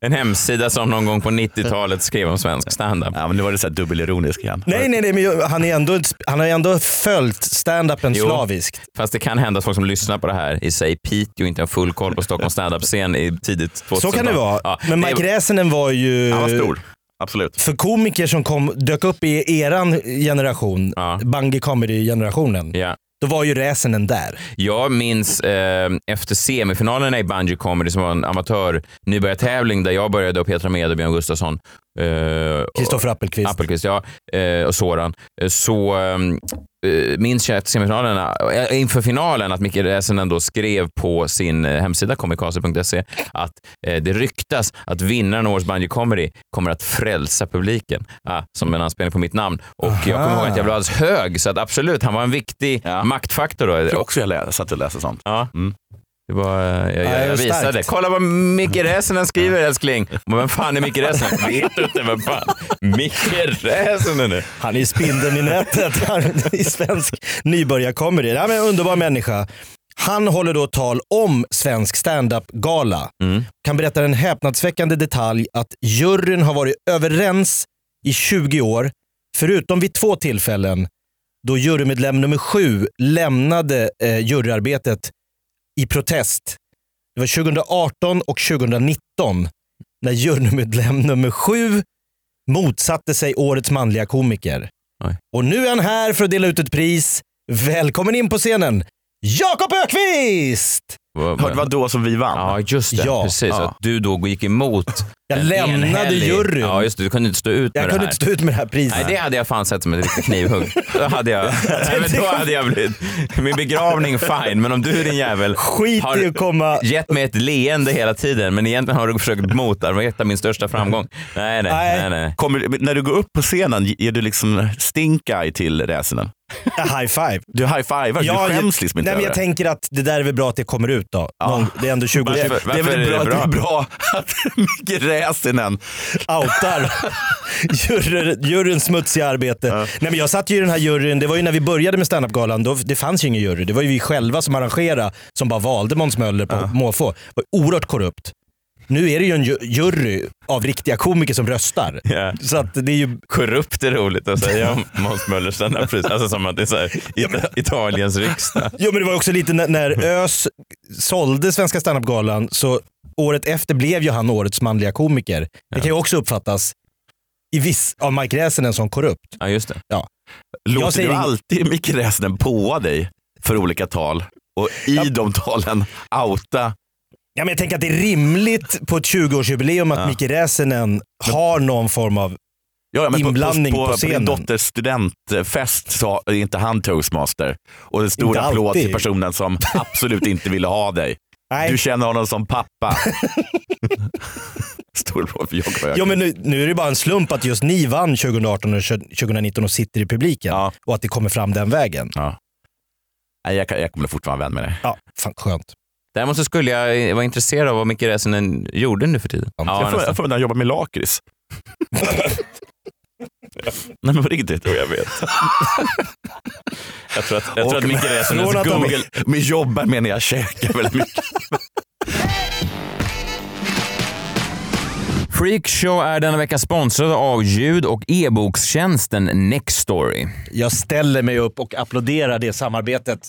Speaker 5: En hemsida som någon gång på 90-talet skrev om svensk standup.
Speaker 6: Ja, men nu var det så här dubbelironisk igen.
Speaker 7: Nej, nej, nej, men ju- han, är ändå, han har ju ändå följt standupen
Speaker 5: Jo.
Speaker 7: slaviskt.
Speaker 5: Fast det kan hända att folk som lyssnar på det här i sig Piteå inte har full koll på Stockholms standup-scen i tidigt 2000
Speaker 7: Så kan det vara.
Speaker 5: Ja,
Speaker 7: men
Speaker 5: det-
Speaker 7: Mike Räsenen var ju...
Speaker 6: Han var stor, absolut.
Speaker 7: För komiker som kom, dök upp i eran generation,
Speaker 5: Ja.
Speaker 7: Bungy Comedy-generationen,
Speaker 5: Ja.
Speaker 7: då var ju Räsenen där.
Speaker 5: Jag minns eh, efter semifinalerna i Bungy Comedy som var en amatör nybörjartävling där jag började och Petra Mede och Björn Gustafsson. eh, och-
Speaker 7: Kristoffer Appelqvist.
Speaker 5: Appelqvist, ja. Eh, och Soran. Eh, Så ehm, eh, minns jag att semifinalerna, eh, inför finalen, att Micke Räsänen då skrev på sin eh, hemsida komikase.se att eh, det ryktas att vinnaren av årets Bungy Comedy kommer att frälsa publiken. Ah, som en anspelning på mitt namn. Och jag kommer ihåg att jag blev alldeles hög, så att absolut, han var en viktig
Speaker 6: Ja.
Speaker 5: maktfaktor
Speaker 6: Jag
Speaker 5: då.
Speaker 6: tror
Speaker 5: Och,
Speaker 6: också jag lä- satt och läste sånt.
Speaker 5: ja. Mm. Det var, eh, jag,
Speaker 7: det
Speaker 5: jag,
Speaker 7: är
Speaker 5: jag visade.
Speaker 7: starkt.
Speaker 5: Kolla vad Micke Räsänen skriver älskling. Men vem fan är Micke *laughs* Räsänen? Vet du inte vem fan Micke Räsänen är?
Speaker 7: Han är spindeln i nätet *laughs* han är i svensk nybörjarkomedi. Ja, men en underbar människa. Han håller då tal om svensk standup-gala. Kan berätta en häpnadsväckande detalj att juryn har varit överens i 20 år, förutom vid två tillfällen då jurymedlem nummer sju lämnade eh, juryarbetet i protest. Det var 2018 och 2019 när jurymedlem nummer sju motsatte sig årets manliga komiker.
Speaker 5: Oj.
Speaker 7: Och nu är han här för att dela ut ett pris. Välkommen in på scenen, Jakob Ökvist!
Speaker 5: Vad-
Speaker 6: Hörde det var då som vi vann.
Speaker 5: Ja, just det.
Speaker 7: Ja.
Speaker 5: precis.
Speaker 6: Ja.
Speaker 5: Att du då gick emot
Speaker 7: Jag
Speaker 5: en
Speaker 7: lämnade
Speaker 5: enhällig-
Speaker 7: juryn.
Speaker 5: Ja, just det. Du kunde inte stå ut med
Speaker 7: Jag
Speaker 5: det
Speaker 7: kunde
Speaker 5: här.
Speaker 7: inte stå ut med det här priset.
Speaker 5: Nej, det hade jag fan sett som ett riktigt knivhugg. Då hade jag, Nej, men då hade jag blivit... Min begravning, fine. Men om du din jävel
Speaker 7: Skit
Speaker 5: har
Speaker 7: i att komma...
Speaker 5: gett mig ett leende hela tiden, men egentligen har du försökt motarbeta min största framgång. Nej, nej, nej.
Speaker 7: Nej.
Speaker 5: nej.
Speaker 6: Kommer, men när du går upp på scenen, ger du liksom stink-eye till Räsenen?
Speaker 7: High five.
Speaker 6: Du high-fivar,
Speaker 7: Ja,
Speaker 6: du skäms liksom inte
Speaker 7: nej, men
Speaker 6: över
Speaker 7: Jag
Speaker 6: det.
Speaker 7: tänker att det där är väl bra att det kommer ut då. Någon, det är ändå 20
Speaker 6: Det,
Speaker 5: Varför-
Speaker 6: är- det är
Speaker 5: varför
Speaker 6: väl
Speaker 5: är
Speaker 6: bra,
Speaker 5: det
Speaker 6: att det är
Speaker 5: bra?
Speaker 6: bra att Micke Räsenen
Speaker 7: outar juryn, juryns smutsiga arbete. Nej, men jag satt ju i den här juryn, det var ju när vi började med standup-galan, då- det fanns ju ingen jury. Det var ju vi själva som arrangerade, som bara valde Måns Möller på måfå. Det var oerhört korrupt. Nu är det ju en ju- jury av riktiga komiker som röstar.
Speaker 5: Ja.
Speaker 7: Så att det är ju...
Speaker 5: Korrupt är roligt att säga om Måns Möllers standup-pris. Alltså som att det är så här, Ita- Italiens riksdag.
Speaker 7: Jo men det var också lite när, när ÖS sålde Svenska standup-galan, så året efter blev ju han årets manliga komiker. Det kan ju också uppfattas i viss, av Mike Räsänen som korrupt.
Speaker 5: Ja, just det.
Speaker 6: låter
Speaker 7: säger
Speaker 6: du
Speaker 7: ing-
Speaker 6: alltid Micke Räsenen påa dig för olika tal och i de talen outa.
Speaker 7: Ja, men jag tänker att det är rimligt på ett 20-årsjubileum att Micke Räsänen har någon form av...
Speaker 6: Ja, ja,
Speaker 7: Inblandning
Speaker 6: på,
Speaker 7: på
Speaker 6: på, på, på
Speaker 7: scenen.
Speaker 6: din dotters studentfest sa är inte han toastmaster. Och en stor
Speaker 7: Inte
Speaker 6: applåd
Speaker 7: alltid.
Speaker 6: till personen som absolut inte ville ha dig.
Speaker 7: Nej.
Speaker 6: Du känner honom som pappa. *laughs* stor applåd för Jakob
Speaker 7: Ja,
Speaker 6: Öqvist.
Speaker 7: men nu, nu är det bara en slump att just ni vann 2018 och 2019 och sitter i publiken
Speaker 6: Ja.
Speaker 7: och att det kommer fram den vägen.
Speaker 6: Nej, jag, kan- jag kommer fortfarande vara vän med dig.
Speaker 7: Ja, fan skönt.
Speaker 5: Däremot så skulle jag vara intresserad av vad Micke Räsänen gjorde nu för tiden.
Speaker 6: jag får-
Speaker 5: nästan.
Speaker 6: jag får börja jobba med *laughs* lakrits. Nej men på riktigt. Jag vet.
Speaker 5: jag tror att, jag tror
Speaker 6: Och
Speaker 5: att Micke
Speaker 6: med-
Speaker 5: Räsänens
Speaker 6: från att de-
Speaker 5: Google...
Speaker 6: Med jobbar menar jag käkar väldigt mycket.
Speaker 5: Freakshow är denna vecka sponsrad av ljud och e-bokstjänsten Nextory.
Speaker 7: Jag ställer mig upp och applåderar det samarbetet.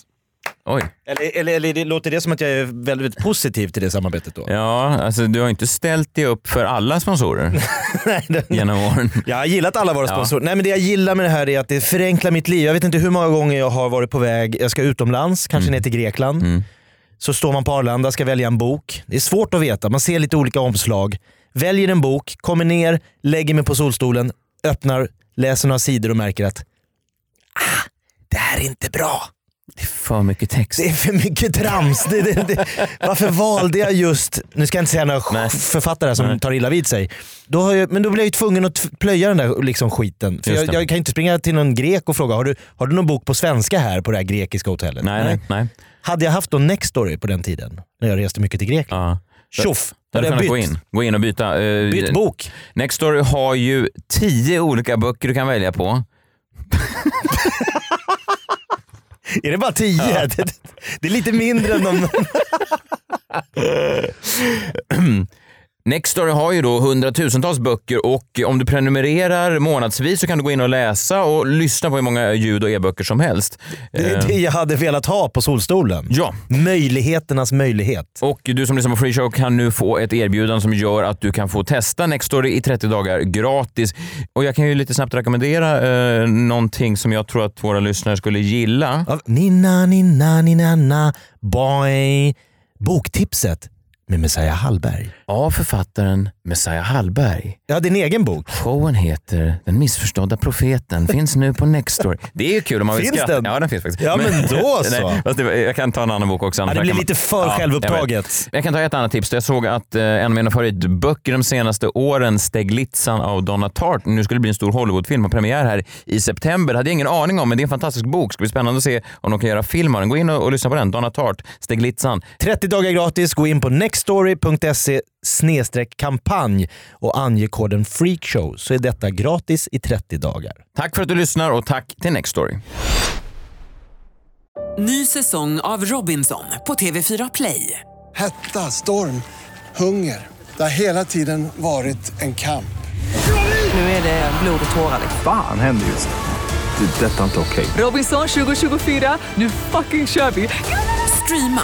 Speaker 5: Oj.
Speaker 7: Eller, eller, eller det låter det som att jag är väldigt positiv till det samarbetet då?
Speaker 5: Ja, alltså du har inte ställt dig upp för alla *laughs* sponsorer
Speaker 7: *laughs* Nej, det-
Speaker 5: genom åren.
Speaker 7: Jag har gillat alla våra sponsorer. Nej, men det jag gillar med det här är att det förenklar mitt liv. Jag vet inte hur många gånger jag har varit på väg, jag ska utomlands, kanske ner till Grekland. Så står man på Arlanda ska välja en bok. Det är svårt att veta, man ser lite olika omslag. Väljer en bok, kommer ner, lägger mig på solstolen, öppnar, läser några sidor och märker att ah, det här är inte bra.
Speaker 5: Det är för mycket text.
Speaker 7: Det är för mycket trams. Det, det, det. Varför valde jag just, nu ska jag inte säga några
Speaker 5: Nej.
Speaker 7: författare som
Speaker 5: Nej.
Speaker 7: tar illa vid sig. Då har jag, men då blev jag ju tvungen att t- plöja den där liksom skiten. För
Speaker 5: Just
Speaker 7: jag,
Speaker 5: det.
Speaker 7: jag kan inte springa till någon grek och fråga, har du, har du någon bok på svenska här på det här grekiska hotellet?
Speaker 5: Nej, nej, nej.
Speaker 7: Hade jag haft någon next story på den tiden, när jag reste mycket till Grekland,
Speaker 5: Ja.
Speaker 7: tjoff!
Speaker 5: Där
Speaker 7: hade
Speaker 5: du
Speaker 7: jag
Speaker 5: kunnat
Speaker 7: bytt,
Speaker 5: gå in, gå in och byta. eh,
Speaker 7: bytt bok.
Speaker 5: Nextory har ju tio olika böcker du kan välja på.
Speaker 7: Är det bara tio? *laughs* Det, det är lite mindre
Speaker 5: *laughs*
Speaker 7: än de...
Speaker 5: Nextory har ju då hundratusentals böcker och om du prenumererar månadsvis så kan du gå in och läsa och lyssna på hur många ljud och e-böcker som helst.
Speaker 7: Det är
Speaker 5: Eh,
Speaker 7: det jag hade velat ha på solstolen.
Speaker 5: Ja,
Speaker 7: Möjligheternas möjlighet.
Speaker 5: och du som lyssnar på Free Show kan nu få ett erbjudande som gör att du kan få testa Nextory i 30 dagar gratis. Och jag kan ju lite snabbt rekommendera eh, någonting som jag tror att våra lyssnare skulle gilla.
Speaker 7: av Nina, Nina, Nina, na, boy. Boktipset med Messiah Hallberg.
Speaker 5: Av författaren Messiah Hallberg.
Speaker 7: Ja, din egen bok.
Speaker 5: Showen heter Den missförstådda profeten, finns nu på Nextory. Det är ju kul om man vill
Speaker 7: Finns
Speaker 5: skratta.
Speaker 7: den?
Speaker 5: Ja, den finns faktiskt.
Speaker 7: Ja, men då så.
Speaker 5: *laughs* Nej, fast det, jag kan ta en annan bok också.
Speaker 7: Ja,
Speaker 5: annars
Speaker 7: det
Speaker 5: kan
Speaker 7: blir
Speaker 5: man-
Speaker 7: lite för
Speaker 5: Ja, jag
Speaker 7: självupptaget.
Speaker 5: vet. Jag kan ta ett annat tips. Jag såg att eh, en av mina favoritböcker de senaste åren, Steglitsan av Donna Tartt, nu skulle det bli en stor Hollywoodfilm och premiär här i september. hade jag ingen aning om, men det är en fantastisk bok. ska bli spännande att se om de kan göra film av den. Gå in och, och lyssna på den. Donna Tartt, Steglitsan.
Speaker 7: 30 dagar gratis. Gå in på nextstory.se kampanj och ange koden freakshow så är detta gratis i 30 dagar.
Speaker 5: Tack för att du lyssnar och tack till Nextory.
Speaker 1: Ny säsong av Robinson på TV4 Play.
Speaker 2: Hetta, storm, hunger. Det har hela tiden varit en kamp.
Speaker 1: Nu är det blod och tårar.
Speaker 3: Fan händer just det. Det är detta inte okej.
Speaker 1: Robinson 2024, nu fucking kör vi! Streama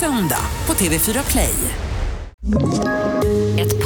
Speaker 1: söndag på TV4 Play.
Speaker 4: Ett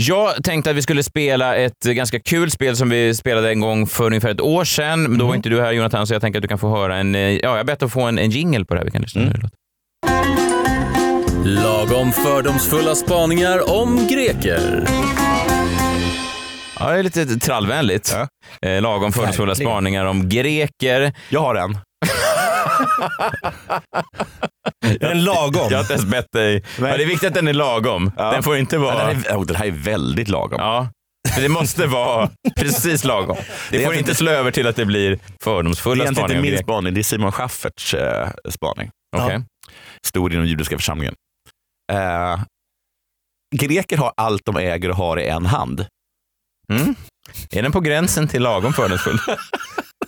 Speaker 5: Jag tänkte att vi skulle spela ett eh, ganska kul spel som vi spelade en gång för ungefär ett år sedan. Men Då var inte du här Jonathan, så jag tänker att du kan få höra en... eh, Ja, jag har bett att få en, en jingle på det här. Vi kan lyssna mm. nu.
Speaker 8: Lagom fördomsfulla spaningar om greker.
Speaker 5: Ja, det är lite trallvänligt. Eh, lagom fördomsfulla
Speaker 7: Verkligen.
Speaker 5: spaningar om greker.
Speaker 6: Jag har en.
Speaker 7: En lagom.
Speaker 5: Jag har inte ens bett dig. Ja, det är viktigt att den är lagom.
Speaker 6: Ja.
Speaker 5: Den får inte
Speaker 6: Den,
Speaker 5: vara...
Speaker 6: här är, oh, den här är väldigt lagom.
Speaker 5: Ja. För Det måste vara precis lagom. Det,
Speaker 6: är
Speaker 5: får
Speaker 6: inte-
Speaker 5: inte slå över till att det blir
Speaker 6: det är
Speaker 5: fördomsfulla
Speaker 6: egentligen
Speaker 5: spaningar
Speaker 6: inte
Speaker 5: om
Speaker 6: min
Speaker 5: greker.
Speaker 6: spaning, det är Simon Schafferts eh, spaning.
Speaker 5: Okej.
Speaker 6: Stor inom judiska församlingen. Eh, greker har allt de äger och har i en hand.
Speaker 5: Är den på gränsen till
Speaker 6: *laughs*
Speaker 5: lagom fördomsfull?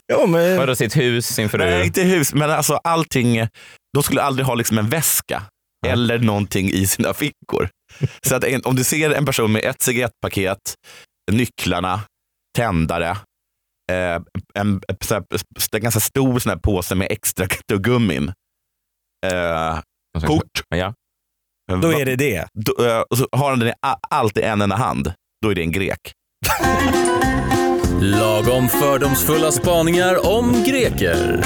Speaker 7: Ja, men...
Speaker 5: Vadå, sitt hus, sin fru?
Speaker 6: Nej, inte hus, men alltså allting. De skulle aldrig ha liksom en väska eller någonting i sina fickor. Så att en, om du ser en person med ett cigarettpaket, nycklarna, tändare, eh, en, så här, en ganska stor sån här påse med extra *laughs* tuggummin, eh, kort.
Speaker 5: Ja.
Speaker 7: Då är det det.
Speaker 6: Då, eh, och så har han den i a- allt i en enda hand, då är det en grek.
Speaker 8: Lagom fördomsfulla spaningar om greker.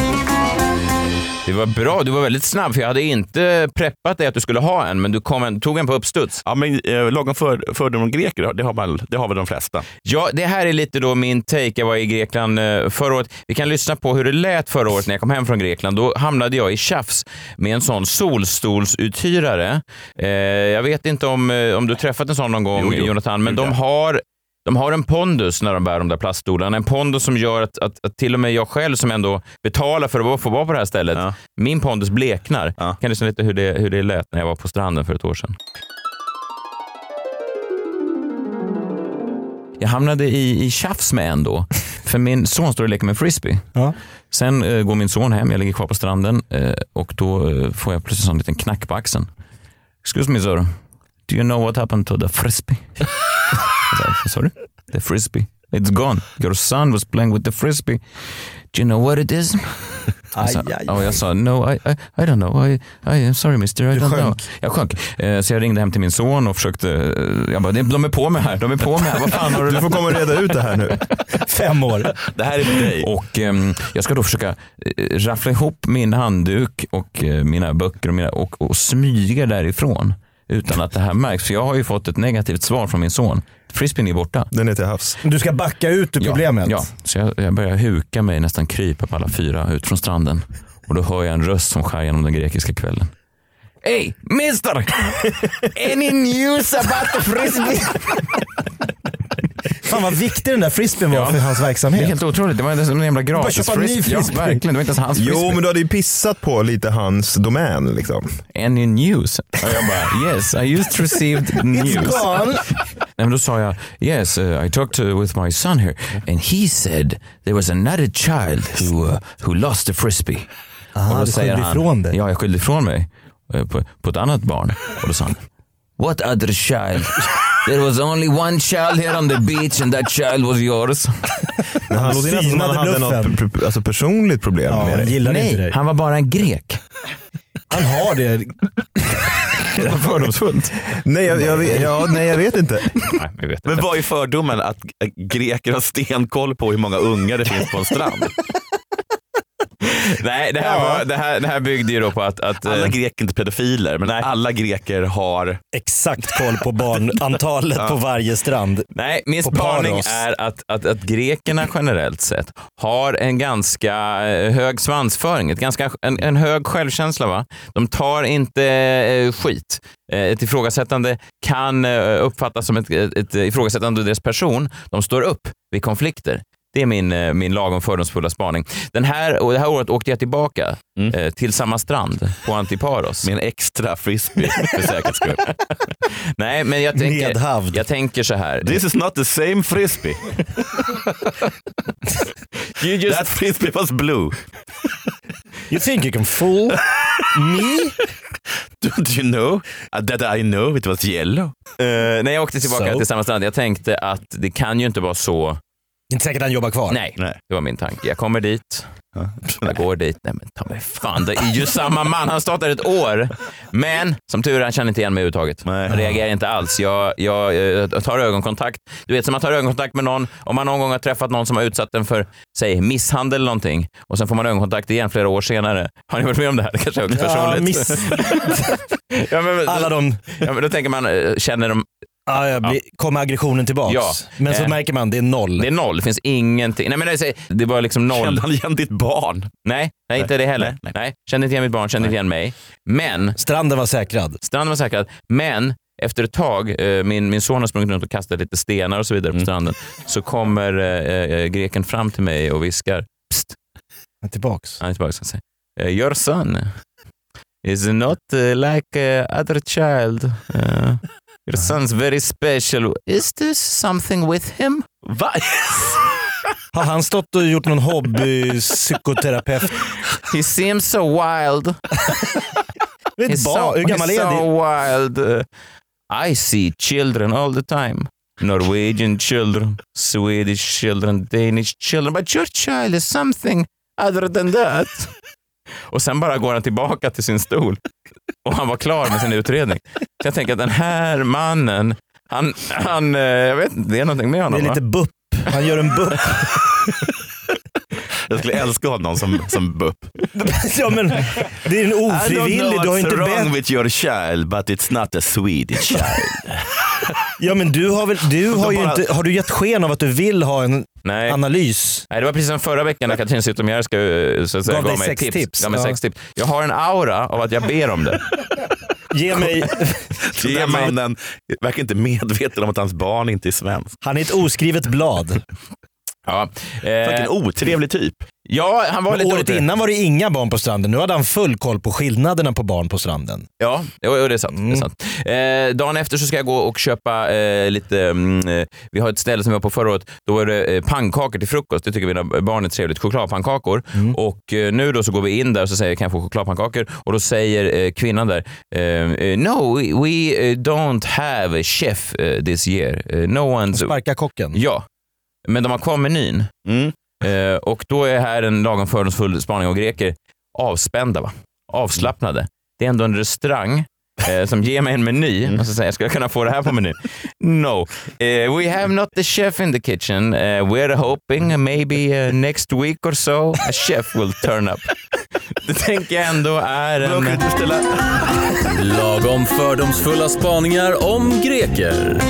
Speaker 5: Det var bra, du var väldigt snabb för jag hade inte preppat dig att du skulle ha en, men du kom en, tog en på uppstuds.
Speaker 6: Ja, men eh, lagom för, fördom om greker, det har, man, det har väl de flesta.
Speaker 5: Ja, det här är lite då min take. Jag var i Grekland eh, förra året. Vi kan lyssna på hur det lät förra året när jag kom hem från Grekland. Då hamnade jag i tjafs med en sån solstolsuthyrare. Eh, jag vet inte om, eh, om du träffat en sån någon gång,
Speaker 6: Jo, jo.
Speaker 5: Jonathan, men de
Speaker 6: Mm.
Speaker 5: har de har en pondus när de bär de där plaststolarna. En pondus som gör att, att, att till och med jag själv som ändå betalar för att få vara på det här stället,
Speaker 6: Ja.
Speaker 5: min pondus bleknar.
Speaker 6: Ja.
Speaker 5: Kan du lyssna lite hur det, hur det lät när jag var på stranden för ett år sedan? Jag hamnade i, i tjafs med
Speaker 6: *laughs*
Speaker 5: en då. För min son står och leker med frisbee. Sen eh, går min son hem, jag ligger kvar på stranden eh, och då eh, får jag plötsligt en sån liten knack på axeln. Excuse me sir, do you know what happened to the frisbee? Jag bara, Sorry? The frisbee? It's gone. Your son was playing with the frisbee. Do you know what it is? Jag sa,
Speaker 7: Aj, aj,
Speaker 5: och
Speaker 7: aj.
Speaker 5: jag sa no, I, I, I don't know, I, I, I'm sorry mister, I
Speaker 7: Du
Speaker 5: don't
Speaker 7: sjönk.
Speaker 5: know. Jag sjönk. Eh, Så jag ringde hem till min son och försökte, eh, jag bara, de är på mig här, de är på mig här, vad fan har du?
Speaker 6: Du får komma och reda ut det här nu.
Speaker 7: Fem år.
Speaker 6: Det här är för dig.
Speaker 5: Och ehm, jag ska då försöka eh, raffla ihop min handduk och eh, mina böcker och, mina, och, och smyga därifrån utan att det här märks. För jag har ju fått ett negativt svar från min son. Frisbeen är borta.
Speaker 3: Den är till havs.
Speaker 7: Du ska backa ut ur problemet.
Speaker 5: Ja, ja. så jag, jag börjar huka mig, nästan krypa på alla fyra ut från stranden. Och då hör jag en röst som skär genom den grekiska kvällen. Hey,
Speaker 7: *laughs*
Speaker 5: mister! Any news about the frisbee?
Speaker 7: Fan vad viktig den där frisbeen var för hans
Speaker 5: Det är
Speaker 7: verksamhet.
Speaker 5: helt otroligt. Det var inte ens en jävla gratis
Speaker 7: köpa en ny
Speaker 5: Ja,
Speaker 7: frisbee.
Speaker 5: verkligen. Det var inte ens hans
Speaker 3: Jo,
Speaker 5: frisbee.
Speaker 3: men du hade ju pissat på lite hans domän liksom.
Speaker 5: Any news? Och jag bara, yes, I just
Speaker 7: *laughs*
Speaker 5: received news.
Speaker 7: Gone.
Speaker 5: *laughs* Nej, men då sa jag, yes, uh, I talked to, with my son here and he said there was another child who, uh, who lost the frisbee.
Speaker 7: Aha,
Speaker 5: och då
Speaker 7: Ah, du skyllde ifrån dig.
Speaker 5: Ja, jag skyllde ifrån mig eh, på, på ett annat barn. Och då sa han, what other child? There was only one child here on the beach and that child was yours.
Speaker 3: Men han låter ju nästan som att han
Speaker 7: Synade
Speaker 3: hade något
Speaker 7: bluffen.
Speaker 3: pr- pr- alltså personligt problem
Speaker 7: Ja,
Speaker 3: med
Speaker 7: han
Speaker 3: dig.
Speaker 7: gillar inte
Speaker 5: Nej,
Speaker 7: dig.
Speaker 5: han var bara en grek.
Speaker 7: Han har *laughs* det.
Speaker 3: Fördomsfullt. Nej, jag, jag, vet- ja, nej, jag vet inte.
Speaker 5: Nej, jag vet
Speaker 6: Men vad är fördomen att greker har stenkoll på hur många ungar det finns på en strand?
Speaker 5: *laughs* Nej, det här, var, det här, det här byggde ju då på att...
Speaker 6: *laughs*
Speaker 5: att
Speaker 6: Alla
Speaker 5: eh,
Speaker 6: greker är inte pedofiler, men alla greker har...
Speaker 7: Exakt koll på barnantalet på varje strand.
Speaker 5: Nej, min
Speaker 7: På
Speaker 5: spaning
Speaker 7: Paros.
Speaker 5: är att, att, att grekerna generellt sett har en ganska eh, hög svansföring, ett ganska, en, en hög självkänsla. Va? De tar inte eh, skit. Eh, Ett ifrågasättande kan eh, uppfattas som ett, ett, ett ifrågasättande av deras person. De står upp vid konflikter. Det är min, eh, min lagom fördomsfulla spaning. Den här, och det här året åkte jag tillbaka
Speaker 7: Mm.
Speaker 5: eh, till samma strand på Antiparos.
Speaker 6: Med en extra frisbee för säkerhets skull.
Speaker 5: Nej, men jag tänker,
Speaker 7: Medhavd.
Speaker 5: jag tänker så här.
Speaker 6: *laughs* This is not the same *laughs* frisbee.
Speaker 5: You just
Speaker 6: That frisbee was blue.
Speaker 7: You think you can fool me?
Speaker 6: Don't you know Uh, that I know it was yellow?
Speaker 5: Eh, när jag åkte tillbaka
Speaker 7: So?
Speaker 5: till samma strand, jag tänkte att det kan ju inte vara så.
Speaker 7: Inte säkert han jobbar kvar.
Speaker 5: Nej,
Speaker 6: Nej.
Speaker 5: det var min tanke. Jag kommer dit, jag går dit. Nej men ta mig fan, det är ju samma man. Han har stått där ett år. Men som tur är, han känner inte igen mig överhuvudtaget.
Speaker 6: Nej.
Speaker 5: Han reagerar inte alls. Jag, jag, eh, jag tar ögonkontakt. Du vet, som man tar ögonkontakt med någon. Om man någon gång har träffat någon som har utsatt en för, säg misshandel eller någonting. Och sen får man ögonkontakt igen flera år senare. Har ni varit med om det här? Det kanske är högt
Speaker 7: Ja,
Speaker 5: personligt.
Speaker 7: Ah, miss,
Speaker 5: Ja, men,
Speaker 7: alla de,
Speaker 5: ja, men då tänker man, eh, känner de
Speaker 7: ah, jag blir, kommer aggressionen tillbaks?
Speaker 5: Ja.
Speaker 7: Men så
Speaker 5: Eh.
Speaker 7: märker man, det är noll.
Speaker 5: Det är noll, det finns ingenting. Nej, men det, är- det var liksom noll.
Speaker 6: Kände han igen ditt barn?
Speaker 5: Nej, nej, inte det heller. Nej,
Speaker 6: Nej,
Speaker 5: Kände inte igen mitt barn, kände inte igen mig. Men,
Speaker 7: Stranden var säkrad.
Speaker 5: stranden var säkrad. Men efter ett tag, eh, min, min son har sprungit runt och kastat lite stenar och så vidare på stranden, så kommer eh, eh, greken fram till mig och viskar. Psst,
Speaker 7: Men Tillbaks.
Speaker 5: han är tillbaka och säger. "Eh, Your son is not eh, like eh, other child. Eh, your son's very special. Is this something with him?
Speaker 6: Va?
Speaker 7: Har han stått och gjort någon hobbypsykoterapeut?
Speaker 5: He seems so wild.
Speaker 7: Det är ett
Speaker 5: He's
Speaker 7: barn.
Speaker 5: so,
Speaker 7: Hur gammal
Speaker 5: he's
Speaker 7: är det?
Speaker 5: so wild. Uh, I see children all the time. Norwegian children, Swedish children, Danish children. But your child is something other than
Speaker 7: *laughs*
Speaker 5: that. Och sen bara går han tillbaka till sin stol. Och han var klar med sin utredning. Så jag tänker att den här mannen, han, han eh, jag vet inte, det är någonting med
Speaker 7: Det
Speaker 5: honom
Speaker 7: är lite
Speaker 5: va?
Speaker 7: bupp. Han gör en
Speaker 5: *laughs*
Speaker 7: bupp.
Speaker 6: Jag skulle älska honom som, som BUP.
Speaker 7: ja, men, det är en
Speaker 6: I don't
Speaker 7: ofrivillig.
Speaker 6: know
Speaker 7: Du har
Speaker 6: what's
Speaker 7: inte
Speaker 6: wrong
Speaker 7: bett.
Speaker 6: with your child, but it's not a
Speaker 7: *laughs*
Speaker 6: Swedish child.
Speaker 7: Ja, men du har väl, du har ju
Speaker 6: bara-
Speaker 7: inte, har du gett sken av att du vill ha en
Speaker 5: Nej.
Speaker 7: analys?
Speaker 5: Nej, det var precis som förra veckan när Katrin Zytomierska ska, eh, så att säga,
Speaker 7: Gav dig
Speaker 5: mig
Speaker 7: sex tips.
Speaker 5: Gav mig
Speaker 7: Ja.
Speaker 5: sex tips. Jag har en aura av att jag ber om
Speaker 7: *laughs*
Speaker 5: det.
Speaker 7: Ge mig...
Speaker 6: Den där mannen verkar inte medveten om att hans barn inte är svensk.
Speaker 7: Han är ett oskrivet blad.
Speaker 5: Ja,
Speaker 6: Vilken
Speaker 5: eh,
Speaker 6: otrevlig typ.
Speaker 5: ja han var
Speaker 7: Men
Speaker 5: lite
Speaker 7: året
Speaker 5: otrevlig.
Speaker 7: innan var det inga barn på stranden. Nu hade han full koll på skillnaderna på barn på stranden.
Speaker 5: Ja, jo, jo, det är sant.
Speaker 7: Mm.
Speaker 5: Det är sant. Eh, dagen efter så ska jag gå och köpa eh, lite, mm, eh, vi har ett ställe som vi var på förra året, då är det eh, pannkakor till frukost. Det tycker mina barn är trevligt, chokladpannkakor.
Speaker 7: Mm.
Speaker 5: Och eh, nu då så går vi in där och så säger jag, kan jag få chokladpannkakor? Och då säger eh, kvinnan där, eh, eh, no, we, we eh, don't have a chef eh, this year. Eh, no one's...
Speaker 7: Sparka kocken.
Speaker 5: Ja, men de har kvar menyn.
Speaker 6: Mm.
Speaker 5: Eh, och då är här en lagom fördomsfull spaning av greker. Avspända, va? avslappnade. Det är ändå en restaurang eh, som ger mig en meny
Speaker 6: Mm.
Speaker 5: och så säger jag, ska jag kunna få det här på menyn? No. Eh, we have not the chef in the kitchen. Eh, we're hoping maybe eh, next week or so a chef will turn up. Det tänker jag ändå är en...
Speaker 6: *laughs*
Speaker 8: Lagom fördomsfulla spaningar om greker.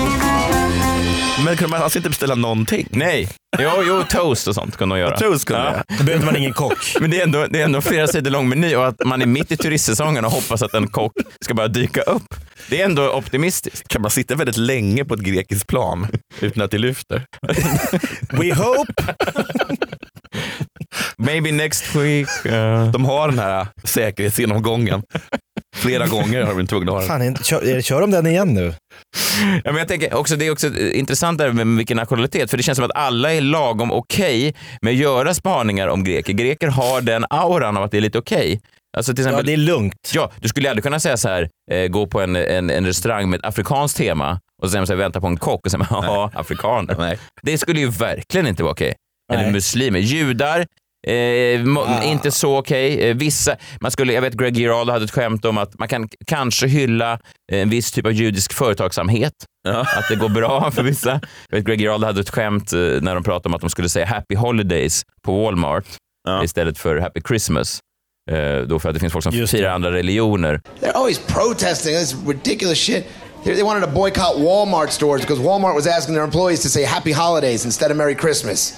Speaker 6: Men kunde man alltså inte beställa någonting?
Speaker 5: Nej. Jo, jo, toast och sånt kunde de göra.
Speaker 6: Toast kunde jag.
Speaker 7: Då behöver man ingen kock.
Speaker 5: Men det är, ändå, det är ändå flera sidor lång meny och att man är mitt i turistsäsongen och hoppas att en kock ska börja dyka upp. Det är ändå optimistiskt.
Speaker 6: Kan man sitta väldigt länge på ett grekiskt plan utan att det lyfter?
Speaker 7: We hope.
Speaker 5: Maybe next week. eh,
Speaker 6: De har den här säkerhetsgenomgången. Flera gånger har de blivit tvungna att ha den.
Speaker 7: Fan, är- kör, kör de den igen nu?
Speaker 5: Ja, men jag tänker också, det är också eh, intressant där med vilken nationalitet, för det känns som att alla är lagom okej med att göra spaningar om greker. Greker har den auran av att det är lite okej. Alltså till
Speaker 7: Ja,
Speaker 5: exempel,
Speaker 7: det är lugnt.
Speaker 5: ja, du skulle aldrig kunna säga så här, eh, gå på en, en, en restaurang med ett afrikanskt tema och sen så här, vänta på en kock och sen *laughs* ja, afrikaner. Det skulle ju verkligen inte vara okej. Eller
Speaker 7: Nej.
Speaker 5: muslimer, judar, eh, må- inte så okej. Eh, vissa, man skulle, jag vet Greg Giraldo hade ett skämt om att man kan k- kanske hylla en viss typ av judisk företagsamhet. *laughs* Att det går bra för vissa. Jag vet, Greg Giraldo hade ett skämt eh, när de pratade om att de skulle säga happy holidays på Walmart istället för happy Christmas. Eh, då för att det finns folk som
Speaker 7: Just det.
Speaker 5: firar andra religioner.
Speaker 9: They're always protesting. This ridiculous shit. They, they wanted to boycott Walmart stores because Walmart was asking their employees to say Happy Holidays instead of Merry Christmas.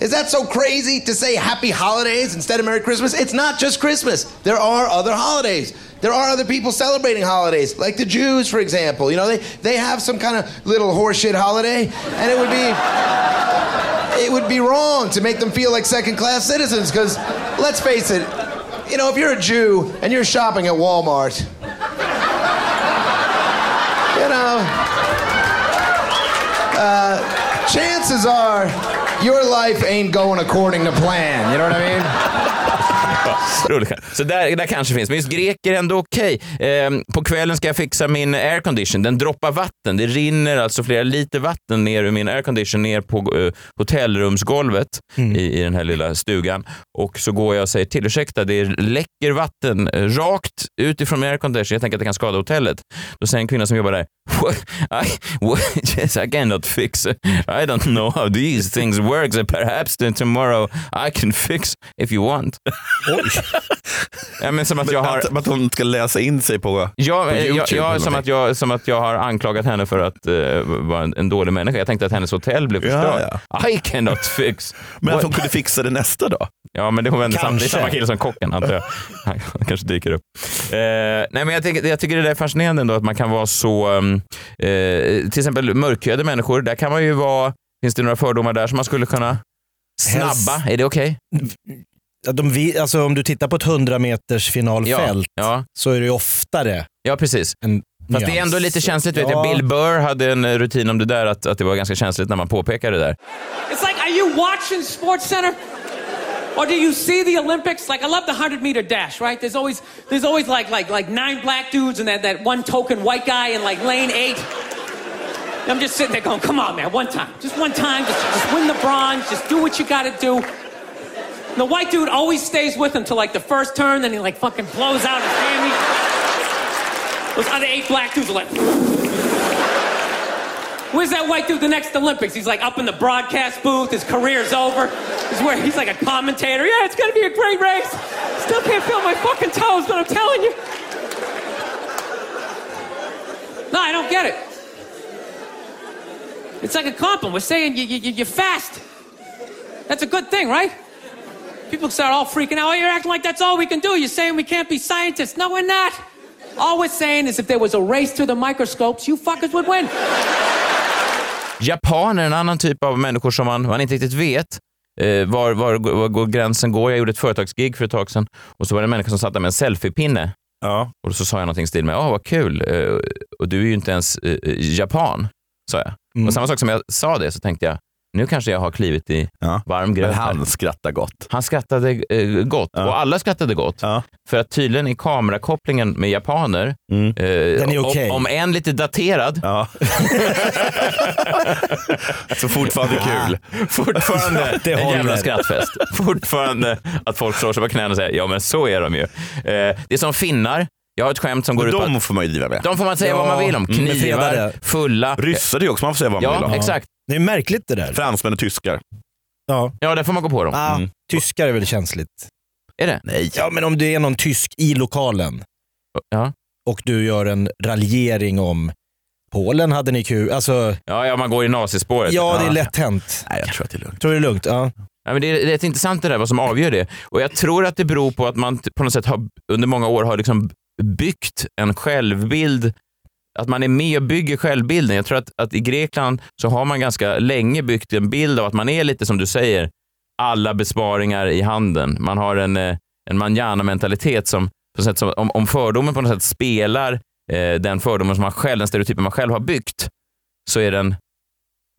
Speaker 9: Is that so crazy to say Happy Holidays instead of Merry Christmas? It's not just Christmas. There are other holidays. There are other people celebrating holidays, like the Jews, for example. You know, they, they have some kind of little horseshit holiday, and it would be it would be wrong to make them feel like second class citizens because let's face it you know if you're a jew and you're shopping at walmart you know uh, chances are your life ain't going according to plan you know what i mean
Speaker 5: Roligt skämt. Så där, där kanske finns, men just greker är ändå okej. Ehm, på kvällen ska jag fixa min aircondition. Den droppar vatten. Det rinner alltså flera liter vatten ner ur min aircondition ner på eh, hotellrumsgolvet i, i den här lilla stugan. Och så går jag och säger till, ursäkta, det läcker vatten eh, rakt ut ifrån min aircondition. Jag tänker att det kan skada hotellet. Då säger en kvinna som jobbar där, "What? I, what? *laughs* Yes, I cannot fix it. I don't know how these things work. So Perhaps then tomorrow I can fix if you want. Ja, men som att jag har...
Speaker 6: Att, att hon ska läsa in sig på...
Speaker 5: Ja,
Speaker 6: på
Speaker 5: jag,
Speaker 6: YouTube
Speaker 5: jag,
Speaker 6: eller
Speaker 5: som, att
Speaker 6: någonting.
Speaker 5: jag, som att jag har anklagat henne för att eh, vara en, en dålig människa. Jag tänkte att hennes hotell blev förstört. I cannot fix.
Speaker 6: Men att
Speaker 5: What?
Speaker 6: hon kunde fixa det nästa dag.
Speaker 5: Ja, men det var väl ändå samma, det är
Speaker 7: Kanske.
Speaker 5: samma kille som kocken,
Speaker 6: *laughs*
Speaker 5: antar jag. Han kanske dyker upp. Eh, nej, men jag, tycker- jag tycker det där är fascinerande ändå, att man kan vara så... ehm, eh, till exempel mörkhyade människor, där kan man ju vara... Finns det några fördomar där som man skulle kunna...
Speaker 7: Helst-
Speaker 5: Snabba, är det okej?
Speaker 7: Ja, De, vi- alltså, om du tittar på ett 100 meters finalfält
Speaker 5: Ja,
Speaker 7: så är det ju oftare
Speaker 5: ja, precis.
Speaker 7: en
Speaker 5: Fast det är ändå
Speaker 7: nyans.
Speaker 5: lite känsligt. Vet
Speaker 7: Ja.
Speaker 5: jag. Bill Burr hade en eh, rutin om det där, att, att det var ganska känsligt när man påpekade det där.
Speaker 1: It's like, are you watching Sports Center? Or do you see the Olympics? Like, I love the 100 meter dash, right? There's always, there's always like, like, like nine black dudes and that, that one token white guy in like lane eight. And I'm just sitting there going, come on, man, one time. Just one time. Just, just win the bronze. Just do what you gotta do. And the white dude always stays with him till like the first turn, then he like fucking blows out his family. Those other eight black dudes are like, Where's that white dude the next Olympics? He's like up in the broadcast booth. His career's over. He's where he's like a commentator. Yeah, it's gonna be a great race. Still can't feel my fucking toes, but I'm telling you. No, I don't get it. It's like a compliment. We're saying you, you, you- you're fast. That's a good thing, right? People start all freaking out. Oh, you're acting like that's all we can do. You're saying we can't be scientists. No, we're not. All we're saying is if there was a race to the microscopes, you fuckers would win.
Speaker 5: Japaner är en annan typ av människor som man, man inte riktigt vet eh, var, var, var går gränsen går. Jag gjorde ett företagsgig för ett tag sedan och så var det en människa som satt där med en selfiepinne.
Speaker 6: Ja.
Speaker 5: Och så sa jag någonting i stil med, åh vad kul, eh, och du är ju inte ens eh, japan, sa jag. Och samma sak som jag sa det så tänkte jag, Nu kanske jag har klivit i varm gröt.
Speaker 6: *laughs* Men han
Speaker 5: skrattar gott. Han skrattade eh, gott och alla skrattade gott. För att tydligen är kamerakopplingen med japaner, eh,
Speaker 6: är okej.
Speaker 5: om, om en lite daterad.
Speaker 6: Så Alltså, *laughs* fortfarande kul.
Speaker 5: *laughs* *laughs* Fortfarande
Speaker 6: Det
Speaker 5: en
Speaker 6: håller.
Speaker 5: jävla skrattfest. *laughs* Fortfarande att folk slår sig på knäna och säger ja men så är de ju. Eh, det är som finnar. Jag har ett skämt som går ut på
Speaker 6: De
Speaker 5: att...
Speaker 6: får man ju driva med.
Speaker 5: De får man säga vad man vill om.
Speaker 6: Mm, men
Speaker 5: Knivar,
Speaker 6: fredade.
Speaker 5: fulla.
Speaker 6: Ryssar det är också, man får säga vad man
Speaker 5: Ja,
Speaker 6: vill om.
Speaker 5: exakt.
Speaker 7: Det är märkligt det där.
Speaker 6: Fransmän och tyskar.
Speaker 7: Ja.
Speaker 5: Ja, Mm. där får man gå på dem.
Speaker 7: Ah, Tyskar är väl känsligt?
Speaker 5: Är det?
Speaker 6: Nej.
Speaker 7: Ja, men om det är någon tysk i lokalen och du gör en raljering om Polen hade ni kul. Alltså,
Speaker 5: Ja, ja, man går i nazispåret. Ah.
Speaker 7: ja, det är lätt hänt.
Speaker 6: Nej, jag tror att det är lugnt.
Speaker 7: Tror du det är lugnt? Ja.
Speaker 5: Ja, men det är rätt intressant det där vad som avgör det. Och jag tror att det beror på att man t- på något sätt har, under många år har liksom byggt en självbild. Att man är med och bygger självbilden. Jag tror att, att i Grekland så har man ganska länge byggt en bild av att man är lite som du säger, alla besparingar i handen. Man har en, eh, en manjana-mentalitet som, på något sätt, som om, om fördomen på något sätt spelar eh, den fördomen som man själv, den stereotypen man själv har byggt, så är den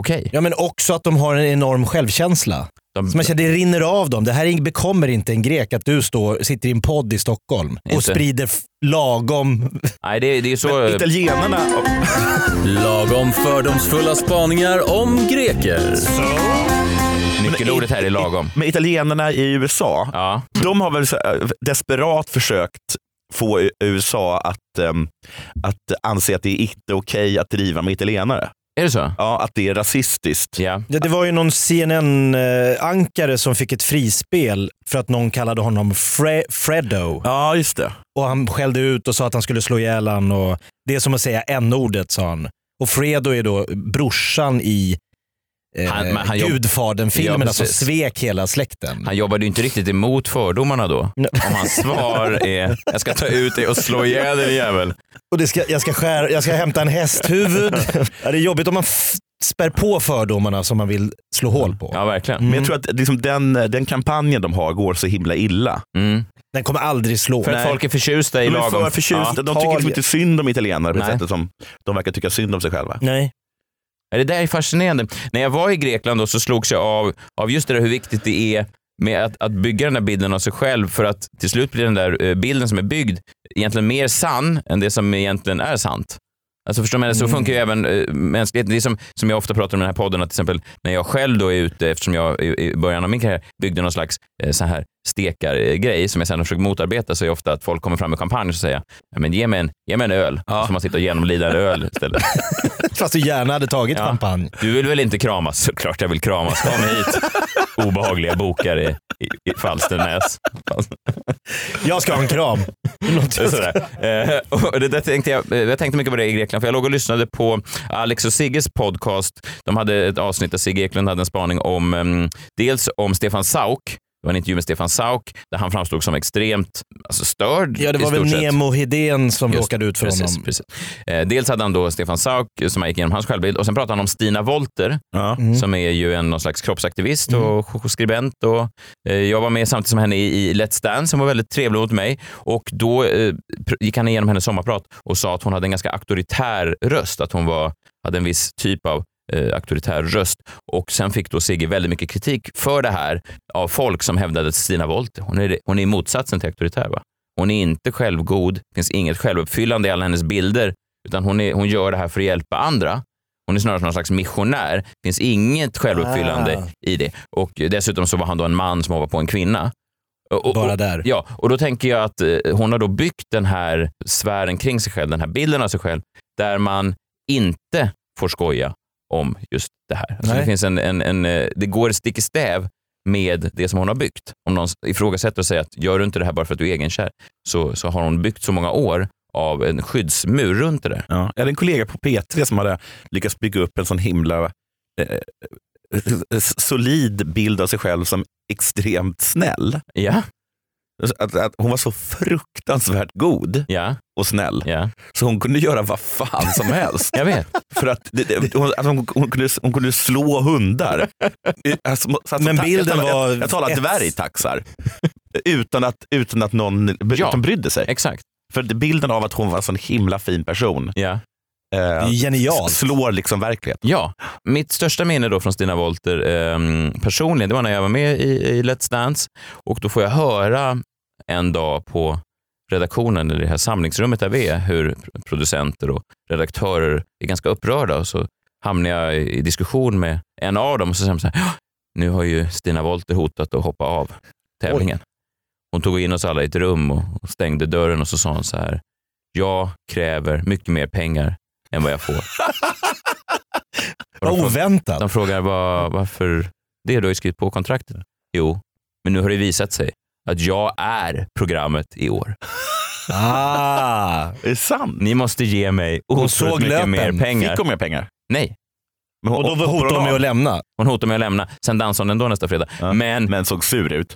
Speaker 5: okej.
Speaker 7: ja, men också att de har en enorm självkänsla.
Speaker 5: De-
Speaker 7: Så man känner, det rinner av dem. Det här bekommer inte en grek att du står, sitter i en podd i Stockholm och
Speaker 5: Inte.
Speaker 7: sprider f- lagom...
Speaker 5: Nej, det, det är så...
Speaker 6: Italienarna...
Speaker 8: Lagom fördomsfulla spaningar om greker.
Speaker 5: Nyckelordet här är lagom.
Speaker 6: Men italienarna i USA, de har väl så, eh, desperat försökt få U- USA att, ehm, att anse att det är inte okej att driva med italienare.
Speaker 5: Är det så?
Speaker 6: Ja, att det är rasistiskt.
Speaker 5: Ja.
Speaker 7: Ja, det var ju någon CNN-ankare eh, som fick ett frispel för att någon kallade honom Fre- Freddo.
Speaker 6: Ja, just det.
Speaker 7: Och han skällde ut och sa att han skulle slå ihjäl han och Det är som att säga n-ordet, sa han. Och Fredo är då brorsan i eh,
Speaker 5: Han- men han jobb-
Speaker 7: Gudfadern-filmen
Speaker 5: Ja,
Speaker 7: som
Speaker 5: precis.
Speaker 7: svek hela släkten.
Speaker 5: Han jobbade ju inte riktigt emot fördomarna då. Om hans svar är jag ska ta ut dig och slå ihjäl dig din jävel.
Speaker 7: Och det ska, jag, ska skära, jag ska hämta en hästhuvud. *laughs* ja, det är jobbigt om man f- spär på fördomarna som man vill slå hål på.
Speaker 5: Ja, verkligen.
Speaker 6: Men jag tror att liksom den, den kampanjen de har går så himla illa.
Speaker 7: Den kommer aldrig slå.
Speaker 5: För att folk är förtjusta i
Speaker 6: De är
Speaker 5: lagom.
Speaker 6: för förtjusta.
Speaker 5: Ja.
Speaker 6: De tycker liksom inte synd om italienare på det
Speaker 5: Nej.
Speaker 6: sättet som de verkar tycka synd om sig själva.
Speaker 7: Nej.
Speaker 5: Ja, Det där är fascinerande. När jag var i Grekland då så slogs jag av, av just det där hur viktigt det är med att, att bygga den här bilden av sig själv för att till slut blir den där eh, bilden som är byggd egentligen mer sann än det som egentligen är sant. Alltså förstår man, så funkar ju även eh, mänskligheten. Det är som, som jag ofta pratar om i den här podden, att till exempel när jag själv då är ute, eftersom jag i, i början av min karriär byggde någon slags eh, så här stekargrej som jag sen har försökt motarbeta, så är ofta att folk kommer fram med champagne och säger ja, men ge mig en, ge mig en öl, så får man sitta och genomlida en öl istället.
Speaker 7: *laughs* Fast du gärna hade tagit
Speaker 5: Ja.
Speaker 7: champagne.
Speaker 5: Du vill väl inte kramas? Såklart jag vill kramas. Kom hit, obehagliga bokare i, i Falsternäs.
Speaker 7: Jag ska ha en kram.
Speaker 5: Sådär. Eh, och det där tänkte jag, eh, jag tänkte mycket på det i Grekland, för jag låg och lyssnade på Alex och Sigges podcast. De hade ett avsnitt där Sigge Eklund hade en spaning om em, dels om Stefan Sauk, det var en intervju med Stefan Sauk där han framstod som extremt alltså, störd
Speaker 7: *laughs* Ja, det
Speaker 5: i
Speaker 7: var väl
Speaker 5: stort sett.
Speaker 7: Nemo Hedén som
Speaker 5: Just,
Speaker 7: råkade ut för
Speaker 5: precis,
Speaker 7: honom.
Speaker 5: Precis. Eh, dels hade han då Stefan Sauk eh, som han gick igenom hans självbild och sen pratade han om Stina Wolter som är ju en någon slags kroppsaktivist
Speaker 7: Mm.
Speaker 5: och sk- skribent. Och, eh, jag var med samtidigt som henne i, i Let's Dance, hon var väldigt trevlig mot mig och då eh, pr- gick han igenom hennes sommarprat och sa att hon hade en ganska auktoritär röst, att hon var, hade en viss typ av eh, auktoritär röst och sen fick då Sigge väldigt mycket kritik för det här av folk som hävdade att Stina Wollter, hon är, hon är motsatsen till auktoritär va? Hon är inte självgod, det finns inget självuppfyllande i alla hennes bilder, utan hon, är, hon gör det här för att hjälpa andra. Hon är snarare någon slags missionär. Det finns inget självuppfyllande i det. Och dessutom så var han då en man som hoppade på en kvinna. Och, och,
Speaker 7: Bara där.
Speaker 5: Ja, och då tänker jag att eh, hon har då byggt den här sfären kring sig själv, den här bilden av sig själv, där man inte får skoja om just det här. Alltså
Speaker 7: Nej.
Speaker 5: det, finns en, en, en, eh, det går stick i stäv med det som hon har byggt. Om någon ifrågasätter och säger att gör du inte det här bara för att du är egenkär, så, så har hon byggt så många år av en skyddsmur runt det där.
Speaker 6: Ja. Jag hade en kollega på P3 som hade lyckats bygga upp en sån himla eh, s- solid bild av sig själv som extremt snäll. Alltså,
Speaker 5: Ja,
Speaker 6: Att, att hon var så fruktansvärt god
Speaker 5: ja,
Speaker 6: och snäll.
Speaker 5: ja.
Speaker 6: Så hon kunde göra vad fan
Speaker 7: *laughs*
Speaker 6: som helst.
Speaker 5: Jag vet.
Speaker 6: För att, det, det, hon, att hon, hon, kunde, hon kunde slå hundar. I- Alltså, så- alltså,
Speaker 7: Men
Speaker 6: ta-
Speaker 7: bilden
Speaker 6: jag talar,
Speaker 7: var
Speaker 6: Jag, jag talar
Speaker 7: ett.
Speaker 6: dvärgtaxar. Utan att, utan att någon b-
Speaker 5: Ja.
Speaker 6: utan brydde sig.
Speaker 5: Exakt.
Speaker 6: För att bilden av att hon var en sån himla fin person
Speaker 5: Ja.
Speaker 6: eh,
Speaker 7: genialt.
Speaker 6: s- slår liksom verkligheten.
Speaker 5: Ja, mitt största minne då från Stina Wolter ehm, personligen, det var när jag var med i, i Let's Dance och då får jag höra en dag på redaktionen, eller det här samlingsrummet där vi är, hur producenter och redaktörer är ganska upprörda och så hamnar jag i, i diskussion med en av dem och så säger de så här, "Ja, nu har ju Stina Wolter hotat att hoppa av tävlingen. Hon tog in oss alla i ett rum och, och stängde dörren och så sa hon så här, jag kräver mycket mer pengar än vad jag får.
Speaker 7: Vad oväntat.
Speaker 5: De frågar "Vad- varför det? Du har ju skrivit på kontraktet. Jo, men nu har det visat sig att jag är programmet i år.
Speaker 7: Ah.
Speaker 6: Det är sant.
Speaker 5: Ni måste ge mig
Speaker 7: Hon
Speaker 5: otroligt
Speaker 7: såg
Speaker 5: mycket
Speaker 7: löpen.
Speaker 5: mer pengar.
Speaker 6: Fick hon mer pengar?
Speaker 5: Nej.
Speaker 7: Och då hotade hon med att lämna.
Speaker 5: Hon hotade med att lämna. Sen dansade hon ändå nästa fredag. Men,
Speaker 6: men såg sur ut.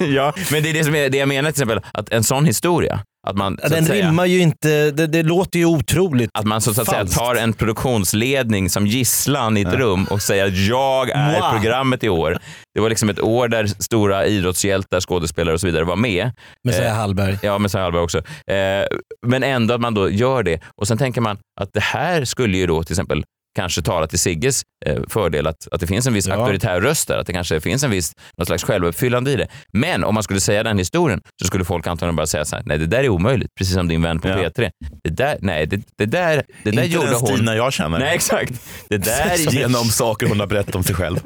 Speaker 5: ja, men det är det, som är, det jag menar till exempel, att en sån historia, att man,
Speaker 7: Ja,
Speaker 5: så
Speaker 7: Den
Speaker 5: att säga,
Speaker 7: rimmar ju inte, det, det låter ju otroligt
Speaker 5: att man så att säga,
Speaker 7: falskt.
Speaker 5: tar en produktionsledning som gisslan i ett rum och säger att jag är
Speaker 7: Wow.
Speaker 5: programmet i år. Det var liksom ett år där stora idrottshjältar, skådespelare och så vidare var med.
Speaker 7: Messiah
Speaker 5: Eh,
Speaker 7: Hallberg.
Speaker 5: Ja, Messiah Hallberg också. Eh, men ändå att man då gör det. Och sen tänker man att det här skulle ju då till exempel kanske tala till Sigges eh, fördel att, att det finns en viss auktoritär röst där, att det kanske finns en viss någon slags självuppfyllande i det. Men om man skulle säga den historien så skulle folk antagligen bara säga så här, nej det där är omöjligt, precis som din vän på
Speaker 6: Ja.
Speaker 5: P3. Det där, nej, det, det där, det där
Speaker 6: Inte
Speaker 5: gjorde
Speaker 6: den
Speaker 5: hon.
Speaker 6: Stina jag känner.
Speaker 5: *laughs* Nej, exakt.
Speaker 6: *laughs*
Speaker 5: Det där
Speaker 6: Genom saker hon har berättat om sig själv.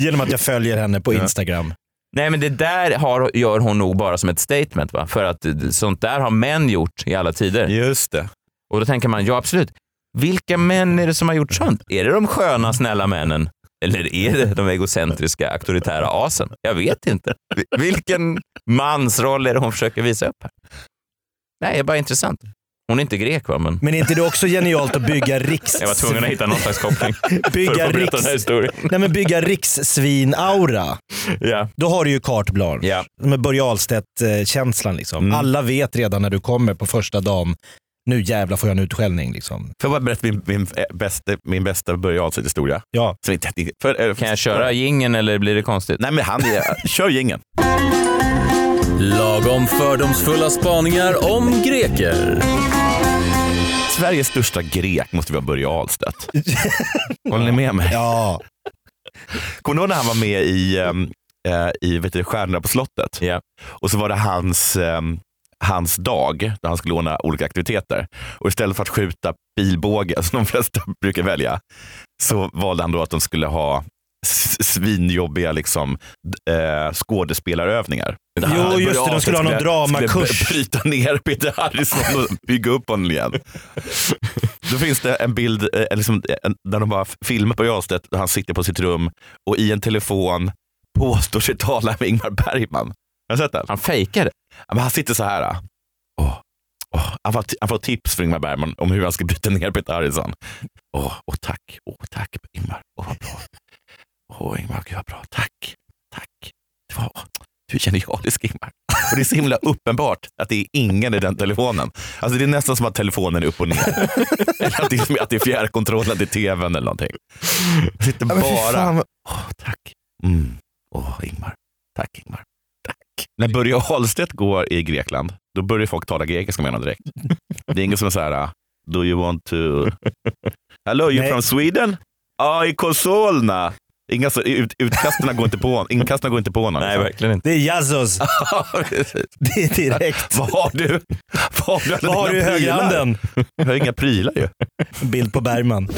Speaker 7: Genom att jag följer henne på Instagram.
Speaker 5: Nej, men det där har, gör hon nog bara som ett statement, va? för att eh, sånt där har män gjort i alla tider.
Speaker 6: Just det.
Speaker 5: Och då tänker man, ja absolut. Vilka män är det som har gjort sånt? Är det de sköna, snälla männen? Eller är det de egocentriska, auktoritära asen? Jag vet inte. Vi- Vilken mansroll är det hon försöker visa upp här? Nej, det är bara intressant. Hon är inte grek, va? men
Speaker 7: Men är inte det också genialt
Speaker 5: *laughs*
Speaker 7: att bygga riks...
Speaker 5: jag var tvungen att hitta någon slags koppling för
Speaker 7: bygga
Speaker 5: att få berätta den
Speaker 7: riks...
Speaker 5: här historien.
Speaker 7: Nej men bygga rikssvin-aura.
Speaker 5: Ja.
Speaker 7: Då har du ju carte blanche.
Speaker 5: Ja. Mm.
Speaker 7: Med Börje Ahlstedt-känslan liksom. Alla vet redan när du kommer på första dagen, nu jävlar får jag en utskällning liksom.
Speaker 6: Får jag bara berätta min, min, eh, bästa, min bästa Börje Ahlstedt-historia?
Speaker 7: Ja.
Speaker 6: Som inte- för- eh,
Speaker 5: Kan jag köra gingen eller blir det konstigt?
Speaker 6: Nej, men han är... Kör gängen.
Speaker 8: Lagom fördomsfulla spaningar om greker.
Speaker 6: Sveriges största grek måste vara Börje Ahlstedt. Håller ni med mig?
Speaker 7: Ja,
Speaker 6: Kommer du ihåg när han var med i, ehm, eh, i vet du, Stjärnorna på slottet?
Speaker 5: Ja.
Speaker 6: Och så var det hans, ehm, hans dag där han skulle ordna olika aktiviteter. Och istället för att skjuta pilbåge, *laughs* som de flesta brukar välja, så valde han då att de skulle ha s- svinjobbiga liksom, d- eh, skådespelarövningar. Han-
Speaker 7: just det, de
Speaker 6: Ahlstedt
Speaker 7: skulle ha någon dramakurs.
Speaker 6: skulle bryta ner Peter Harrison och bygga upp honom igen. Då finns det en bild eh, liksom, en, där de bara filmar på Jarlstedt där han sitter på sitt rum och i en telefon påstår sig tala med Ingmar Bergman. Har du sett den?
Speaker 5: Han fejkade.
Speaker 6: Ja, men han sitter så här. ah. Åh, åh. Han, får, han får tips från Ingmar Bergman om hur han ska bryta ner Peter Harrison. Åh, åh tack, åh tack Ingmar. Åh vad bra. Åh Ingmar, gud vad bra. Tack, tack. Det var, du är genialisk Ingmar. Och det är så himla uppenbart att det är ingen i den telefonen. Alltså det är nästan som att telefonen är upp och ner. eller att det är, som att det är fjärrkontrollen till tvn eller någonting. Jag sitter
Speaker 3: Ja, men fy
Speaker 6: bara.
Speaker 3: fan, vad-
Speaker 6: Åh, tack. Mm. Åh, Ingmar. Tack, Ingmar. Tack. När Börje Ahlstedt går i Grekland, då börjar folk tala grekiska med honom direkt. Det är ingen som är så här, "Ah, do you want to... Hello, you
Speaker 7: Nej.
Speaker 6: from Sweden? Ja, i Solna. Inga, så- ut, utkasten går inte på honom. Inkasten går inte på honom. liksom. *laughs*
Speaker 5: verkligen inte.
Speaker 7: det
Speaker 5: *laughs*
Speaker 7: är Yazos.
Speaker 6: Precis.
Speaker 7: Det är direkt.
Speaker 6: Vad har du? Vad har du,
Speaker 7: Vad har du i
Speaker 6: Dina prylar?
Speaker 7: högerhanden?
Speaker 6: Jag har inga prylar ju.
Speaker 7: Bild på Bergman.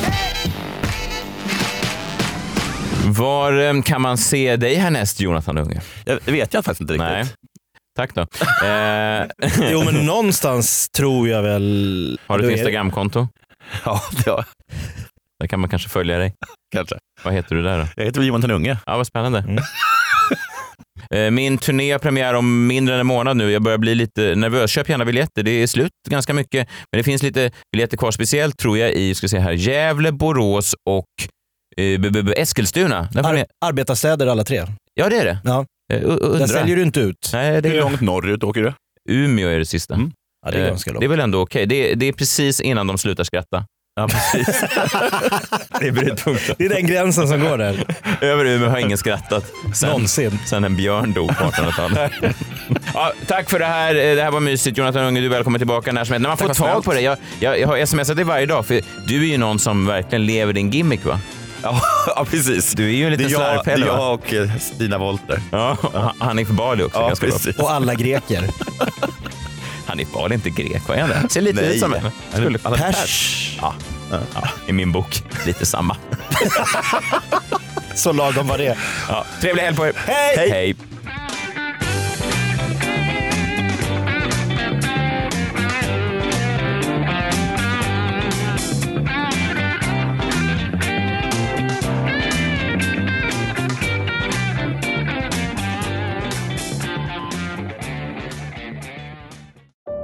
Speaker 5: Var eh, kan man se dig härnäst, Jonathan Unge?
Speaker 6: Jag det vet jag faktiskt inte riktigt.
Speaker 5: Nej. Tack
Speaker 7: *laughs*
Speaker 5: då. Eh, *laughs*
Speaker 7: Jo men någonstans tror jag väl...
Speaker 5: har du
Speaker 7: Då är-
Speaker 5: ett Instagramkonto?
Speaker 6: Ja, ja,
Speaker 5: Där kan man kanske följa dig.
Speaker 6: kanske.
Speaker 5: Vad heter du där då?
Speaker 6: Jag heter Johan Unge.
Speaker 5: Ja, vad spännande.
Speaker 7: Mm.
Speaker 5: *laughs* Eh, Min turné har premiär om mindre än en månad nu. Jag börjar bli lite nervös. Köp gärna biljetter. Det är slut ganska mycket, men det finns lite biljetter kvar. Speciellt tror jag i ska se här, Gävle, Borås och eh, b- b- b- Eskilstuna. Där får ni-
Speaker 7: Ar- arbetarstäder alla tre.
Speaker 5: ja, det är det.
Speaker 7: Ja.
Speaker 5: Eh, u- u-
Speaker 7: Där
Speaker 5: Undra.
Speaker 7: säljer du inte ut.
Speaker 5: Nej, det
Speaker 6: Hur
Speaker 5: är
Speaker 6: långt norrut åker du?
Speaker 5: Umeå är det sista.
Speaker 6: Mm.
Speaker 7: Ja, det är
Speaker 5: Eh,
Speaker 7: ganska
Speaker 5: Det är
Speaker 7: långt.
Speaker 5: väl ändå okej. Det, är- det är precis innan de slutar skratta. Ja, precis. *laughs* det är brytpunkten.
Speaker 7: Det är den gränsen som går där.
Speaker 5: Över Umeå har ingen skrattat. *laughs* Sen,
Speaker 7: Någonsin.
Speaker 5: Sen en björn dog på 1800-talet. *laughs* ja, tack för det här. Eh, Det här var mysigt. Jonathan Unge, du är välkommen tillbaka när som helst. När man får
Speaker 6: Tack för
Speaker 5: tag
Speaker 6: allt.
Speaker 5: på dig. Jag, jag, jag har smsat dig varje dag, för du är ju någon som verkligen lever din gimmick, va? *laughs*
Speaker 6: ja, precis.
Speaker 5: Du är ju en liten
Speaker 6: det är jag, det är
Speaker 5: slarvpelle, va?
Speaker 6: jag och eh, Stina Wolter.
Speaker 5: Ja, *laughs* Han- Hanif Bali också.
Speaker 6: Ja,
Speaker 5: ganska bra.
Speaker 6: precis.
Speaker 7: Och alla greker.
Speaker 5: Hanif Bali är inte grek, vad är han? Ser lite
Speaker 6: Nej.
Speaker 5: ut som en.
Speaker 6: Han är- han är
Speaker 7: Pers.
Speaker 5: Ja. Ja, I min bok, lite samma.
Speaker 7: Så lagom var det.
Speaker 5: Ja, trevlig helg på er.
Speaker 7: Hej!
Speaker 5: Hej.